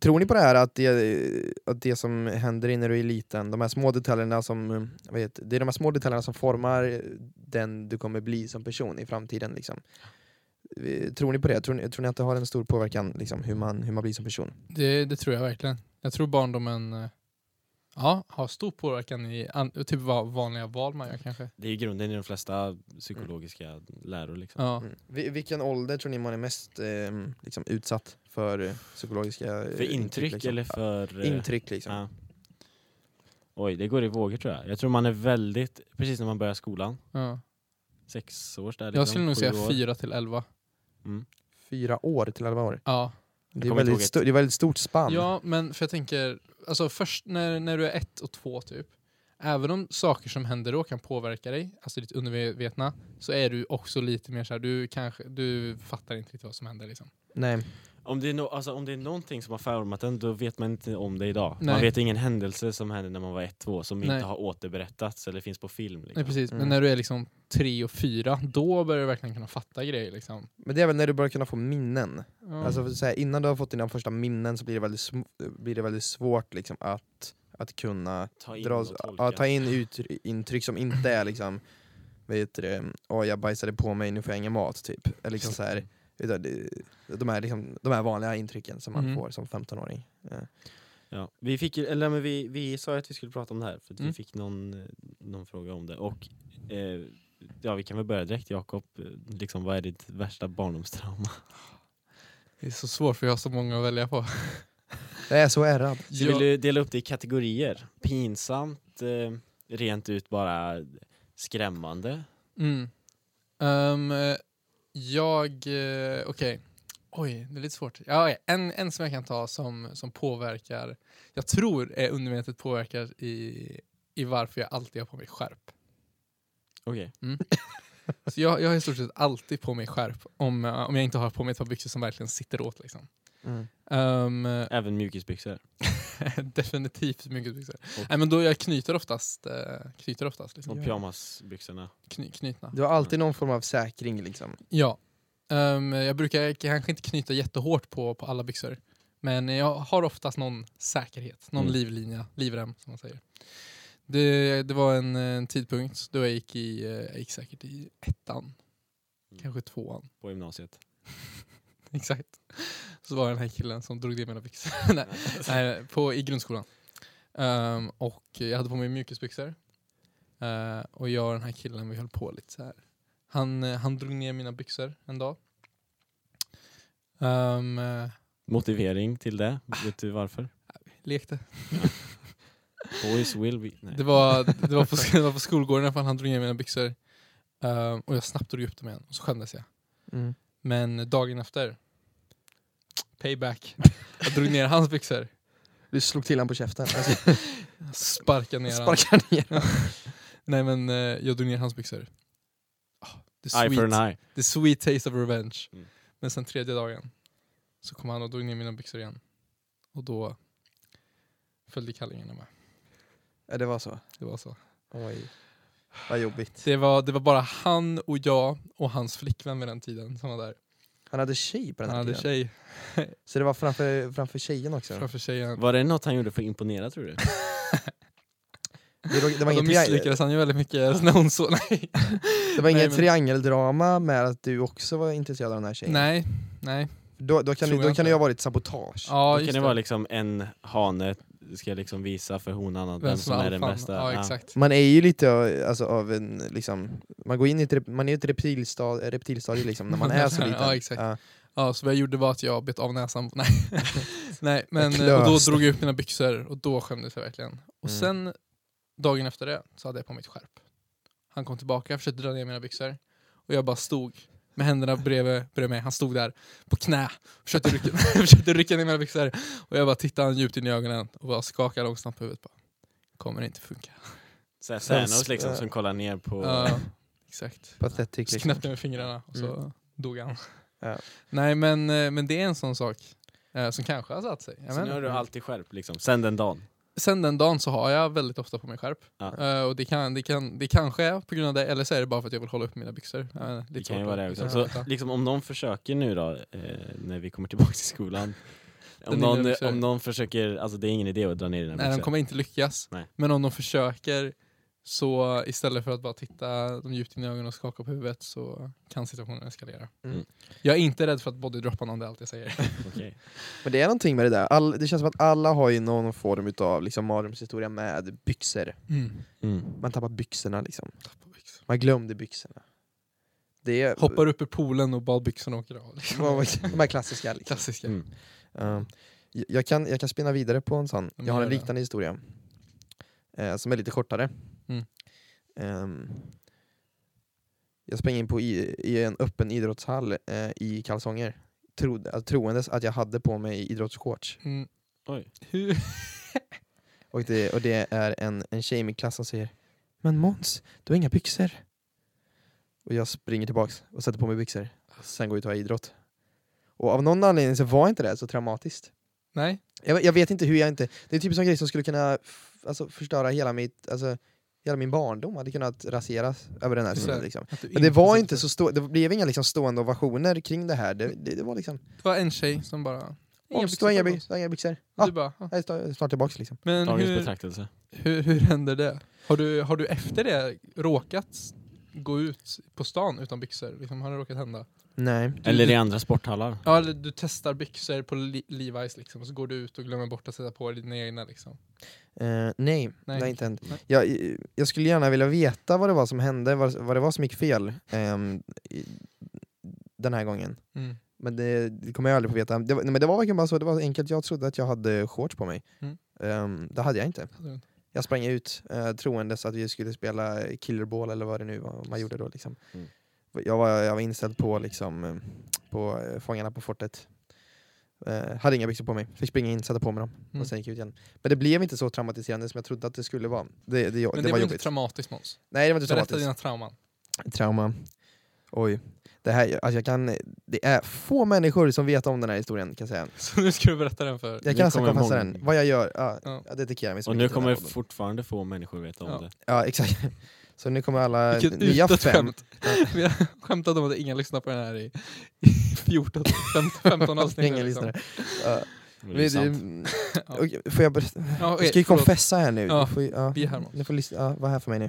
Speaker 3: tror ni på det här att det, att det som händer när du är liten, de här små detaljerna som, vad heter, det är de här små detaljerna som formar den du kommer bli som person i framtiden liksom? Eh, Tror ni på det? Tror ni, tror ni att det har en stor påverkan liksom, hur, man, hur man blir som person?
Speaker 1: Det, det tror jag verkligen. Jag tror barndomen eh, ja, har stor påverkan i an, typ vad vanliga val man gör kanske.
Speaker 2: Det är ju grunden i de flesta psykologiska läror. Liksom.
Speaker 1: Ja.
Speaker 3: Mm. Vi- Vilken ålder tror ni man är mest eh, liksom, utsatt för eh, psykologiska eh,
Speaker 2: För intryck
Speaker 3: liksom?
Speaker 2: eller för... eh,
Speaker 3: Intryck liksom.
Speaker 2: ja. Oj, det går i vågor tror jag. Jag tror man är väldigt, precis när man börjar skolan,
Speaker 1: Ja.
Speaker 2: sex års där liksom,
Speaker 1: Jag skulle nog
Speaker 2: sju
Speaker 1: säga
Speaker 2: år.
Speaker 1: 4 till 11.
Speaker 3: Fyra år till elva år.
Speaker 1: Ja.
Speaker 3: Det är,
Speaker 2: kommer inte ihåg
Speaker 3: väldigt sto- det är väldigt stort spann.
Speaker 1: ja, men för jag tänker, alltså först när, när du är ett och två typ, även om saker som händer då kan påverka dig, alltså ditt undervetna, så är du också lite mer så här, du kanske, du fattar inte riktigt vad som händer liksom.
Speaker 3: Nej.
Speaker 2: Om det, är no, alltså, om det är någonting som har format en, då vet man inte om det idag. Man
Speaker 1: Nej.
Speaker 2: vet ingen händelse som hände när man var ett, två, som
Speaker 1: Nej.
Speaker 2: inte har återberättats eller finns på film. Liksom.
Speaker 1: Nej precis, men
Speaker 3: Mm.
Speaker 1: när du är liksom tre och fyra, då börjar du verkligen kunna fatta grejer liksom.
Speaker 3: Men det är väl när du börjar kunna få minnen.
Speaker 1: Ja.
Speaker 3: Alltså, för så här, innan du har fått dina första minnen så blir det väldigt, sm- blir det väldigt svårt liksom, att, att kunna
Speaker 2: Ta in
Speaker 3: dra,
Speaker 2: och tolka.
Speaker 3: ja, ta in utry- intryck som inte är liksom, vad heter det, åh jag bajsade på mig, nu får jag ingen mat typ. Eller liksom så här, utan det- de, här, liksom, de här vanliga intrycken som man
Speaker 1: Mm.
Speaker 3: får som 15-åring. Ja.
Speaker 2: Ja. Vi, fick, ju- eller, men vi, vi sa ju att vi skulle prata om det här, för att vi
Speaker 1: Mm.
Speaker 2: fick någon, eh, någon fråga om det. Och, eh, ja, vi kan väl börja direkt, Jakob. Eh, Liksom, vad är ditt värsta barndomstrauma?
Speaker 1: Det är så svårt för jag har så måga att välja på.
Speaker 3: Jag är så ärrad.
Speaker 2: Så vill du dela upp det i kategorier? Pinsamt, eh, rent ut bara skrämmande.
Speaker 1: Mm. Ehm, eh, jag, eh, okej. Oj, det är lite svårt. Ja, okej. en, en som jag kan ta som, som påverkar, jag tror är undermedvetet påverkar i, i varför jag alltid har på mig skärp.
Speaker 2: Okej.
Speaker 1: Så jag, jag har i stort sett alltid på mig skärp om, eh, om jag inte har på mig ett par byxor som verkligen sitter åt. Liksom.
Speaker 3: Mm.
Speaker 1: Ehm, eh,
Speaker 2: Även mjukisbyxor.
Speaker 1: definitivt mjukisbyxor.
Speaker 2: Och-
Speaker 1: Nej, men då jag knyter oftast, eh, knyter oftast liksom.
Speaker 2: Och pyjamasbyxorna.
Speaker 1: Kny, knutna.
Speaker 3: Du har alltid någon form av säkring liksom.
Speaker 1: Ja. Ehm, jag brukar kanske inte knyta jättehårt på, på alla byxor. Men jag har oftast någon säkerhet, någon
Speaker 2: Mm.
Speaker 1: livlinja, livrem som man säger. Det, det var en, eh, en tidpunkt då jag gick i, eh, jag gick säkert i ettan,
Speaker 2: Mm.
Speaker 1: kanske tvåan.
Speaker 2: på gymnasiet.
Speaker 1: Exakt. Så var det den här killen som drog ner mina byxor. Nej, Nej, Eh, på, i grundskolan. Ehm, och jag hade på mig mjukisbyxor. Eh, och jag och den här killen, vi höll på lite så här. Han, eh, han drog ner mina byxor en dag. Ehm, eh,
Speaker 2: Motivering till det, vet du varför?
Speaker 1: lekte.
Speaker 2: Boys will be... Nej.
Speaker 1: Det var, det, var på, det var på skolgården i alla fall, han drog ner mina byxor. Ehm, och jag snabbt drog upp dem igen, och så skämdes jag.
Speaker 3: Mm.
Speaker 1: Men dagen efter, payback. Jag drog ner hans byxor.
Speaker 3: Du slog till honom på käften. Alltså,
Speaker 1: Sparkade ner han.
Speaker 3: sparkade ner
Speaker 1: Nej men eh, jag drog ner hans byxor. Ah, det är
Speaker 2: Eye for
Speaker 1: sweet.
Speaker 2: an eye.
Speaker 1: The sweet taste of revenge.
Speaker 2: Mm.
Speaker 1: Men sen tredje dagen så kom han och drog ner mina byxor igen. Och då följde kallingarna med.
Speaker 3: Ja, det var så.
Speaker 1: Det var så.
Speaker 3: Oj. Vad jobbigt.
Speaker 1: Det var, det var bara han och jag och hans flickvän vid den tiden som var där.
Speaker 3: Han hade tjej på den
Speaker 1: Han
Speaker 3: här
Speaker 1: hade
Speaker 3: tiden.
Speaker 1: tjej
Speaker 3: Så det var framför, framför tjejen också?
Speaker 1: framför tjejen.
Speaker 2: Var det något han gjorde för att imponera tror du?
Speaker 3: Det, var- det var
Speaker 1: Då
Speaker 3: inget
Speaker 1: misslyckades han ju väldigt mycket när hon såg... Nej.
Speaker 3: Det var inget
Speaker 1: Nej, men-
Speaker 3: triangeldrama med att du också var intresserad av den här tjejen?
Speaker 1: nej, nej.
Speaker 3: Då, då
Speaker 1: Tror
Speaker 3: kan, det-
Speaker 1: jag
Speaker 3: då kan det
Speaker 1: inte.
Speaker 3: ju ha varit sabotage.
Speaker 1: Ja,
Speaker 2: Då
Speaker 1: just
Speaker 2: kan det
Speaker 1: det.
Speaker 2: vara liksom en hane ska liksom visa för honan att vem som är den
Speaker 1: alfan.
Speaker 2: bästa.
Speaker 1: Ja, exakt.
Speaker 3: Man är ju lite av- alltså, av en, liksom, man går in i ett, rep- man är i ett reptilstadie, reptilstadie liksom, när man är så liten.
Speaker 1: Ja, exakt.
Speaker 3: Ja.
Speaker 1: Ja, så vad jag gjorde var att jag bet av näsan. Nej, Nej men
Speaker 3: Jag
Speaker 1: eh, och då
Speaker 3: klöste.
Speaker 1: drog jag upp mina byxor och då skämdes jag verkligen. Och
Speaker 3: Mm.
Speaker 1: sen dagen efter det så hade jag på mig ett skärp. Han kom tillbaka, försökte dra ner mina byxor och jag bara stod med händerna bredvid, bredvid mig. Han stod där på knä försökte rycka, försökte rycka ner mina byxor och jag bara tittade han djupt in i ögonen och bara skakade långsamt på huvudet. Bara, Kommer inte funka.
Speaker 2: Såhär
Speaker 3: Sen
Speaker 2: Thanos
Speaker 3: sp-
Speaker 2: liksom som kollar ner på...
Speaker 1: Ja, exakt.
Speaker 3: Pathetic
Speaker 1: Så
Speaker 3: liksom. Mm.
Speaker 1: knäppte med fingrarna och så dog han.
Speaker 3: Ja.
Speaker 1: Nej men, eh, men det är en sån sak eh, som kanske har satt sig. Jag
Speaker 2: så
Speaker 1: vet
Speaker 2: nu har du
Speaker 1: inte.
Speaker 2: alltid skärp liksom, sen den dagen.
Speaker 1: Sen den dagen så har jag väldigt ofta på mig skärp.
Speaker 2: Ja.
Speaker 1: Eh, och det, kan, det, kan, det kanske är på grund av det, eller så är det bara för att jag vill hålla upp mina byxor. Jag vet inte,
Speaker 2: Det
Speaker 1: lite
Speaker 2: kan ju
Speaker 1: svårt
Speaker 2: vara
Speaker 1: att-
Speaker 2: det
Speaker 1: lite
Speaker 2: också.
Speaker 1: svårt att
Speaker 2: Så
Speaker 1: veta.
Speaker 2: liksom om någon försöker nu då, eh, när vi kommer tillbaka till skolan. Om
Speaker 1: Den inre
Speaker 2: någon,
Speaker 1: byxor.
Speaker 2: om någon försöker, alltså det är ingen idé att dra ner dina
Speaker 1: Nej, de
Speaker 2: byxor.
Speaker 1: kommer inte lyckas.
Speaker 2: Nej.
Speaker 1: Men om de försöker så istället för att bara titta dem djupt in i ögonen och skaka på huvudet så kan situationen eskalera.
Speaker 3: Mm.
Speaker 1: Jag är inte rädd för att bodydroppa någon, det är allt jag säger.
Speaker 2: Okej.
Speaker 3: Men det är någonting med det där, All, det känns som att alla har ju någon form utav liksom, mardrömshistoria med byxor.
Speaker 2: Mm.
Speaker 3: Man tappar byxorna liksom, man glömde byxorna. Det är,
Speaker 1: Hoppar upp i poolen och badbyxorna åker av. liksom.
Speaker 3: vad- vad- De här klassiska liksom.
Speaker 1: Klassiska.
Speaker 2: Mm.
Speaker 3: Ja. Jag- jag, kan, jag kan spinna vidare på en sån,
Speaker 1: men
Speaker 3: jag har en
Speaker 1: gör det.
Speaker 3: liknande historia. Eh, som är lite kortare.
Speaker 1: Mm.
Speaker 3: Ehm, jag sprang in på i, i en öppen idrottshall eh, i kalsonger. Trodde, alltså, troendes att jag hade på mig idrottsshorts.
Speaker 1: Mm.
Speaker 2: Oj.
Speaker 1: Hur-
Speaker 3: Och det, och det är en, en tjej i min klass som säger Men Måns, du har inga byxor. Och jag springer tillbaks och sätter på mig byxor. Sen går jag ut och har idrott. Och av någon anledning så var inte det så traumatiskt.
Speaker 1: Nej,
Speaker 3: Jag, jag vet inte hur jag inte... Det är typ sån grej som skulle kunna f- alltså, förstöra hela mitt... Alltså, hela min barndom hade kunnat raseras över den här
Speaker 1: Så
Speaker 3: stunden.
Speaker 1: är
Speaker 3: Liksom.
Speaker 1: att du
Speaker 3: Men det var
Speaker 1: satt-
Speaker 3: inte så stå, Det blev inga liksom stående ovationer kring det här. Det, det, det var liksom...
Speaker 1: Det var en tjej som bara...
Speaker 3: Måns, du har inga by- du har inga byxor.
Speaker 1: Och
Speaker 3: Ja,
Speaker 1: Du bara, "Ah."
Speaker 3: jag är snart tillbaks liksom.
Speaker 1: men
Speaker 2: Dagens
Speaker 1: hur,
Speaker 2: betraktelse.
Speaker 1: hur, hur händer det? Har du, har du efter det råkat gå ut på stan utan byxor? Liksom, har det råkat hända?
Speaker 3: Nej.
Speaker 2: Eller i andra sporthallar.
Speaker 1: Ja, eller du testar byxor på Le- Levi's liksom, och så går du ut och glömmer bort att sätta på dina egna liksom.
Speaker 3: Eh, nej,
Speaker 1: Nej.
Speaker 3: det har inte hänt.
Speaker 1: Nej.
Speaker 3: Jag, eh, jag skulle gärna vilja veta vad det var som hände, vad, vad det var som gick fel ehm, i, den här gången.
Speaker 1: Mm.
Speaker 3: Men det, det kommer jag aldrig få veta. Det, var- nej, men det var verkligen bara så, det var enkelt. Jag trodde att jag hade shorts på mig.
Speaker 1: Mm.
Speaker 3: Ehm, det hade jag inte.
Speaker 1: Hade du inte?
Speaker 3: Jag sprang ut eh, troendes att vi skulle spela killerball eller vad det nu var man gjorde då. Liksom.
Speaker 2: Mm.
Speaker 3: Jag, var, jag var inställd på, liksom, eh, på eh, Fångarna på fortet. Eh, hade inga byxor på mig, fick springa in, sätta på mig dem
Speaker 1: Mm.
Speaker 3: och sen gick jag ut igen. Men det blev inte så traumatiserande som jag trodde att det skulle vara. Det, det, det,
Speaker 1: Men det,
Speaker 3: var
Speaker 1: var inte
Speaker 3: jobbigt.
Speaker 1: traumatiskt Måns.
Speaker 3: Nej, det var inte
Speaker 1: Berätta
Speaker 3: traumatiskt.
Speaker 1: dina trauman.
Speaker 3: Trauma. Oj. Det, här, alltså jag kan, det är få människor som vet om den här historien kan jag säga.
Speaker 1: Så nu ska du berätta den för...
Speaker 3: Jag
Speaker 2: Nu
Speaker 3: kan nästan
Speaker 2: kommer
Speaker 3: konfessa
Speaker 2: många.
Speaker 3: den. Vad jag gör, ja,
Speaker 1: Ja.
Speaker 3: jag dedikerar mig så
Speaker 2: Och
Speaker 3: mycket
Speaker 2: nu
Speaker 3: till den
Speaker 2: kommer
Speaker 3: här podden.
Speaker 2: fortfarande få människor veta om
Speaker 1: Ja.
Speaker 2: det.
Speaker 3: Ja, exakt. Så nu kommer alla
Speaker 1: Vilket
Speaker 3: nya
Speaker 1: utdött
Speaker 3: fem
Speaker 1: skämt. Vi har skämtat om att ingen lyssnar på den här i, i 14, 15, 15 avsnitt.
Speaker 3: Ingen
Speaker 1: liksom.
Speaker 3: lyssnare. Ja,
Speaker 2: Men det är
Speaker 3: vi-
Speaker 2: sant.
Speaker 1: Ja.
Speaker 3: Okej, får jag berätta?
Speaker 1: Ja,
Speaker 3: Jag
Speaker 1: okej,
Speaker 3: ska ju
Speaker 1: förlåt.
Speaker 3: konfessa här nu.
Speaker 1: Ja,
Speaker 3: Ni får, ju- ja, Mm.
Speaker 1: vi är här, Måns.
Speaker 3: ni får lyssna, ja, var här för mig nu.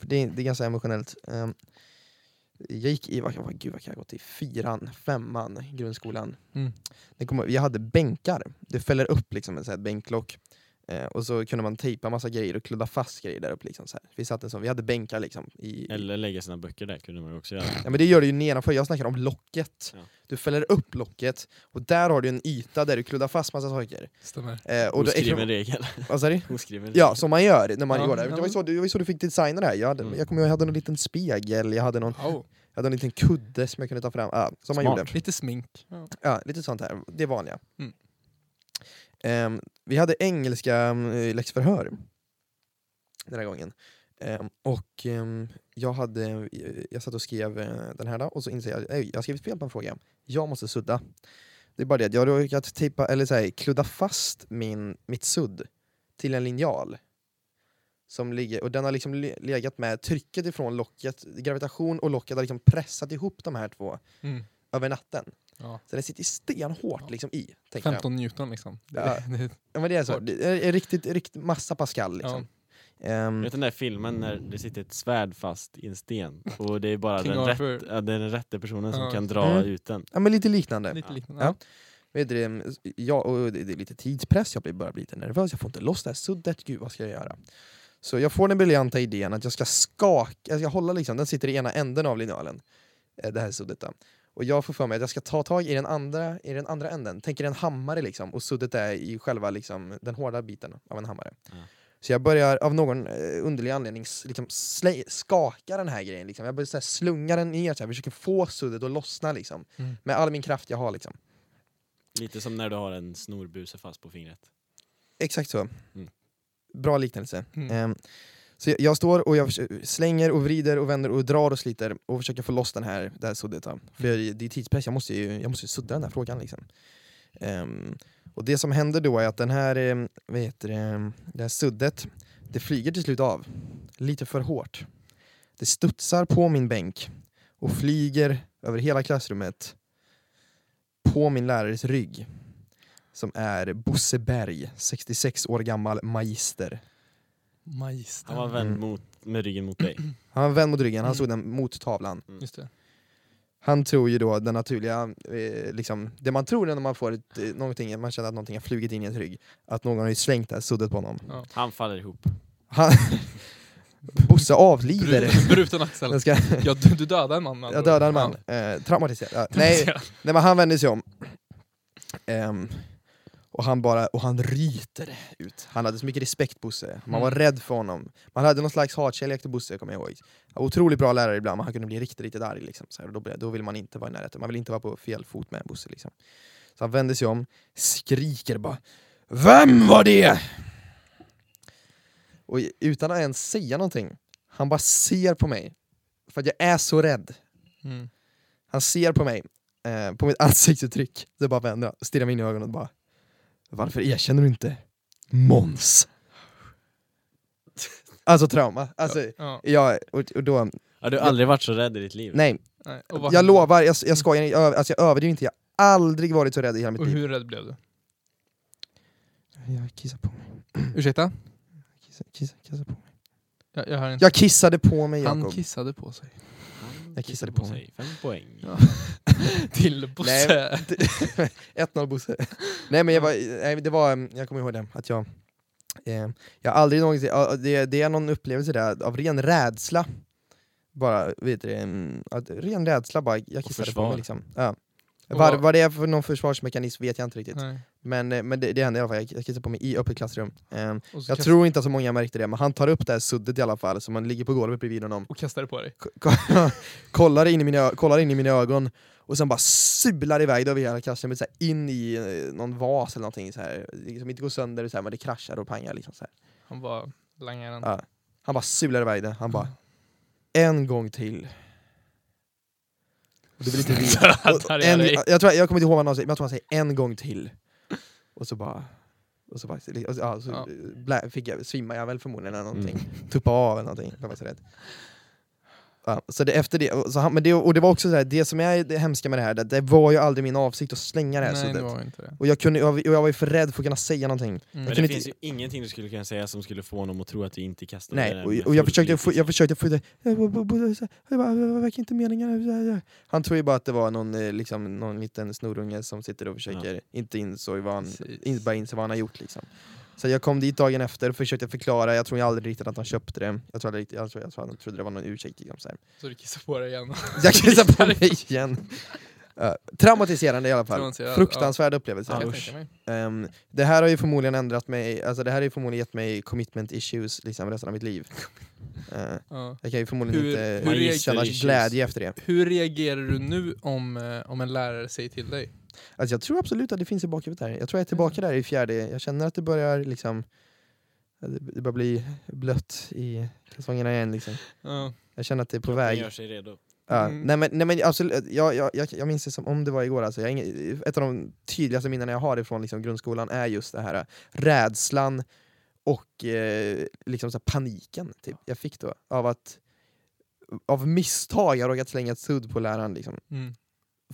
Speaker 3: För det, är, det är ganska emotionellt. Ehm, jag gick i, vad, vad, gud vad kan jag ha gått i? Fyran, femman, grundskolan.
Speaker 1: Mm.
Speaker 3: Det kom, jag hade bänkar. Det fäller upp liksom en sån här bänklock. Eh, och så kunde man tejpa massa grejer och kludda fast grejer där uppe. Liksom, så här. Vi, satt en sån, vi hade bänkar liksom. I,
Speaker 2: Eller lägga sina böcker där kunde man ju också göra.
Speaker 3: Ja, men det gör du ju nedanför, jag snackar om locket.
Speaker 2: Ja.
Speaker 3: Du fäller upp locket och där har du en yta där du kluddar fast massa saker.
Speaker 1: Stämmer.
Speaker 3: Eh, och då-
Speaker 2: Oskriven regel.
Speaker 3: Vad sa du?
Speaker 2: Oskriven regel.
Speaker 3: Ja, som man gör när man
Speaker 1: Ja,
Speaker 3: gör det.
Speaker 1: ja,
Speaker 3: Det var,
Speaker 1: men-
Speaker 3: ju så, det var ju så du fick designa det här. Jag, hade,
Speaker 2: Mm.
Speaker 3: jag kommer ihåg, jag hade en liten spegel, jag hade, någon,
Speaker 1: Wow.
Speaker 3: jag hade en liten kudde som jag kunde ta fram. Ja, som man
Speaker 2: Smart.
Speaker 3: gjorde.
Speaker 1: Lite smink. Ja.
Speaker 3: Ja, lite sånt här, det vanliga.
Speaker 1: Mm.
Speaker 3: Ehm, vi hade engelska eh, läxförhör den här gången. Ehm, och ehm, jag, hade, eh, jag satt och skrev eh, den här då, och så inser jag att jag har skrivit fel på en fråga. Jag måste sudda. Det är bara det att jag har råkat tejpa, eller så här, kludda fast min, mitt sudd till en linjal. Som ligger, och den har liksom le- legat med trycket ifrån locket, gravitation och locket har liksom pressat ihop de här två
Speaker 1: Mm.
Speaker 3: över natten.
Speaker 1: Ja.
Speaker 3: Så den sitter stenhårt
Speaker 1: Ja.
Speaker 3: liksom i. Tänker jag.
Speaker 1: 15 Newton liksom.
Speaker 3: Ja.
Speaker 1: Det- det-
Speaker 3: Ja, men det är så.
Speaker 1: Hårt.
Speaker 3: Det är riktigt, riktigt massa Pascal liksom. Ehm,
Speaker 2: Vet du den där filmen när det sitter ett svärd fast i en sten och det är bara
Speaker 1: King
Speaker 2: den,
Speaker 1: Arthur.
Speaker 2: rätt, ja, det är den rätte personen som
Speaker 1: Ja.
Speaker 2: kan dra
Speaker 3: Mm.
Speaker 2: ut den.
Speaker 3: ja, men lite liknande.
Speaker 1: Lite
Speaker 2: Ja.
Speaker 1: liknande.
Speaker 3: Ja. Vet du, det, jag, och det det är lite tidspress, jag blir- börjar bli lite nervös, jag får inte loss det här suddet, gud vad ska jag göra? Så jag får den briljanta idén att jag ska skaka, jag ska hålla liksom, den sitter i ena änden av linjalen, eh, det här suddet då. Och jag får för mig att jag ska ta tag i den andra, i den andra änden, tänker en hammare liksom, och suddet är i själva liksom, den hårda biten av en hammare.
Speaker 2: Ja.
Speaker 3: Så jag börjar av någon eh, underlig anledning s- liksom, slä, skaka den här grejen, liksom. jag börjar så här, slunga den ner, så här, försöker få suddet att lossna liksom,
Speaker 1: Mm.
Speaker 3: med all min kraft jag har. Liksom.
Speaker 2: Lite som när du har en snorbuse fast på fingret.
Speaker 3: Exakt så.
Speaker 2: Mm.
Speaker 3: Bra liknelse.
Speaker 1: Mm.
Speaker 3: Ehm, Så jag, jag står och jag förs- slänger och vrider och vänder och drar och sliter och försöker få loss den här, det här suddet. då. För jag, det är tidspress, jag måste ju jag måste ju sudda den här frågan. Liksom. Ehm, och det som händer då är att den här, ehm, vad heter det, ehm, det här suddet, det flyger till slut av. Lite för hårt. Det studsar på min bänk och flyger över hela klassrummet på min lärares rygg. Som är Bosse Berg, 66 år gammal magister.
Speaker 1: Magister.
Speaker 2: Han var vänd
Speaker 3: Mm.
Speaker 2: mot, med ryggen mot dig.
Speaker 3: Han var vänd mot ryggen, han
Speaker 1: Mm.
Speaker 3: stod den mot tavlan.
Speaker 1: Just det.
Speaker 3: Han tror ju då den naturliga, eh, liksom, det man tror när man får ett, eh, någonting, man känner att någonting har flugit in i ens rygg, att någon har ju slängt det här suddet på honom.
Speaker 2: Han faller ihop.
Speaker 3: Han, Bosse avlider.
Speaker 1: Bru- bruten axel.
Speaker 3: Den ska,
Speaker 1: Ja, du, du dödade en man. med andra
Speaker 3: jag dödade en
Speaker 1: ord.
Speaker 3: man, eh, traumatiserad. Ja, nej,
Speaker 1: Ja.
Speaker 3: nej men han vänder sig om. Ehm, och han bara, och han ryter ut. Han hade så mycket respekt Bosse, man var
Speaker 1: Mm.
Speaker 3: rädd för honom. Man hade någon slags hatkärlek till Bosse kommer jag ihåg. Han var Otroligt bra lärare ibland, men han kunde bli riktigt, riktigt arg. Liksom, så här, och då, blev- då vill man inte vara i närheten, man vill inte vara på fel fot med Bosse. Liksom. Så han vänder sig om, skriker bara Vem var det? Och i- utan att ens säga någonting, han bara ser på mig. För att jag är så rädd.
Speaker 1: Mm.
Speaker 3: Han ser på mig, eh, på mitt ansiktsuttryck, det bara vänder han, stirrar mig in i ögonen och bara Varför erkänner du inte Måns? Alltså trauma, alltså
Speaker 1: Ja.
Speaker 3: jag, och, och då,
Speaker 2: Ja, du har aldrig varit så rädd i ditt liv.
Speaker 3: nej,
Speaker 1: Nej. Och vad
Speaker 3: jag
Speaker 1: hände?
Speaker 3: lovar, jag, jag skojar, jag, över- alltså jag överdriver inte, jag har aldrig varit så rädd i hela mitt
Speaker 1: Och
Speaker 3: liv
Speaker 1: hur rädd blev du?
Speaker 3: Jag kissade på mig,
Speaker 1: Ursäkta?
Speaker 3: kissade, kissade, kissade på mig
Speaker 1: Jag, jag hör inte.
Speaker 3: Jag kissade på mig
Speaker 1: Han
Speaker 3: Jakob,
Speaker 1: kissade på sig.
Speaker 2: Han
Speaker 3: Jag kissade på
Speaker 2: sig. Fem poäng.
Speaker 1: Ja. Till Bosse.
Speaker 3: 1-0 Bosse Nej men jag var, nej, det var, mm, jag kommer ihåg det, att jag eh, Jag har aldrig någonsin, ja, det, det är någon upplevelse där av ren rädsla Bara, vet du det, mm, att, ren rädsla bara, jag kissade på
Speaker 2: försvar.
Speaker 3: mig liksom ja.
Speaker 1: Och
Speaker 3: Vad
Speaker 1: vad-
Speaker 3: vad det är för någon försvarsmekanism vet jag inte riktigt
Speaker 1: Nej.
Speaker 3: Men, eh, men det, det hände i alla fall, jag, jag kissade på mig i öppet klassrum Ehm,
Speaker 1: Och, så
Speaker 3: Jag
Speaker 1: kast-
Speaker 3: tror inte att så många märkte det, men han tar upp det här suddet i alla fall, så man ligger på golvet bredvid honom
Speaker 1: och kastade på dig.
Speaker 3: K- k- kollar, in i mina, ö- kollar in i mina ögon och sen bara sular iväg det över hela klassrummet så här, in i eh, någon vas eller någonting så här. Liksom inte går sönder så här, men det kraschar och pangar liksom så här.
Speaker 1: Han var langaren.
Speaker 3: Ja. Han bara sular iväg det, han bara en gång till. Och du vill inte veta.
Speaker 1: Dödar
Speaker 3: Och
Speaker 1: jag
Speaker 3: en,
Speaker 1: dig.
Speaker 3: jag, tror, jag kommer inte ihåg vad han säger, men jag tror han säger en gång till. Och så bara... Och så, bara, och så, ja, så
Speaker 1: Ja.
Speaker 3: blä, fick jag, svimmade jag väl förmodligen eller någonting.
Speaker 2: Mm.
Speaker 3: Tuppa av eller någonting, jag var så rädd. Ja, så det, efter det, och så han, men det, och det var också så här, det som är det hemska med det här, det, det var ju aldrig min avsikt att slänga det här
Speaker 1: Nej, det
Speaker 3: suddet.
Speaker 1: var inte det.
Speaker 3: Och jag, kunde, jag, var- jag var ju för rädd för att kunna säga någonting.
Speaker 1: Mm.
Speaker 2: Men
Speaker 3: kunde
Speaker 2: det
Speaker 3: inte-
Speaker 2: finns ju ingenting du skulle kunna säga som skulle få honom att tro att du inte kastade
Speaker 3: Nej,
Speaker 2: den
Speaker 3: och,
Speaker 2: med
Speaker 3: och jag
Speaker 2: full
Speaker 3: försökte få,
Speaker 2: flit.
Speaker 3: jag försökte få det, jag bara- bara- bara- så här, jag bara, det var verkar inte meningen. Han tror ju bara att det var någon, eh, liksom, någon liten snorunge som sitter och försöker, inte insåg vad han,
Speaker 1: Precis.
Speaker 3: inte bara insåg vad han har gjort liksom. Så jag kom dit dagen efter och försökte förklara, jag tror ju aldrig riktigt att han köpte det. Jag tror, aldrig riktigt- jag tror, jag tror han trodde det var någon ursäkt liksom, så här.
Speaker 1: Så du kissade på dig igen.
Speaker 3: Jag kissade på mig igen. Eh, traumatiserande i alla fall.
Speaker 1: Traumatiserande,
Speaker 3: Fruktansvärd upplevelse.
Speaker 2: Ja,
Speaker 1: kan jag
Speaker 2: usch.
Speaker 1: tänka mig.
Speaker 3: Ehm, det här har ju förmodligen ändrat mig, alltså det här har ju förmodligen gett mig commitment issues liksom resten av mitt liv. Eh,
Speaker 1: Ja.
Speaker 3: jag kan ju förmodligen
Speaker 1: Hur-
Speaker 3: inte
Speaker 1: hur reagerar
Speaker 3: känna
Speaker 2: issues?
Speaker 3: glädje efter det.
Speaker 1: Hur reagerar du nu om, eh, om en lärare säger till dig?
Speaker 3: Alltså jag tror absolut att det finns i bakhuvudet här. Jag tror jag är tillbaka där i fjärde, jag känner att det börjar liksom det det börjar bli blött i kalsongerna igen liksom.
Speaker 1: Ja.
Speaker 3: Jag känner att det är på
Speaker 2: Han
Speaker 3: väg.
Speaker 2: gör sig redo.
Speaker 3: Ja,
Speaker 1: Mm.
Speaker 3: nej, men, nej men absolut, eh, jag, jag, jag, jag minns det som om det var igår alltså. jag, har ingen- Ett av de tydligaste minnena jag har ifrån liksom, grundskolan är just det här äh, rädslan och eh, liksom, så här, paniken typ, jag fick då av att av misstag jag råkat slänga ett sudd på läraren liksom.
Speaker 1: Mm.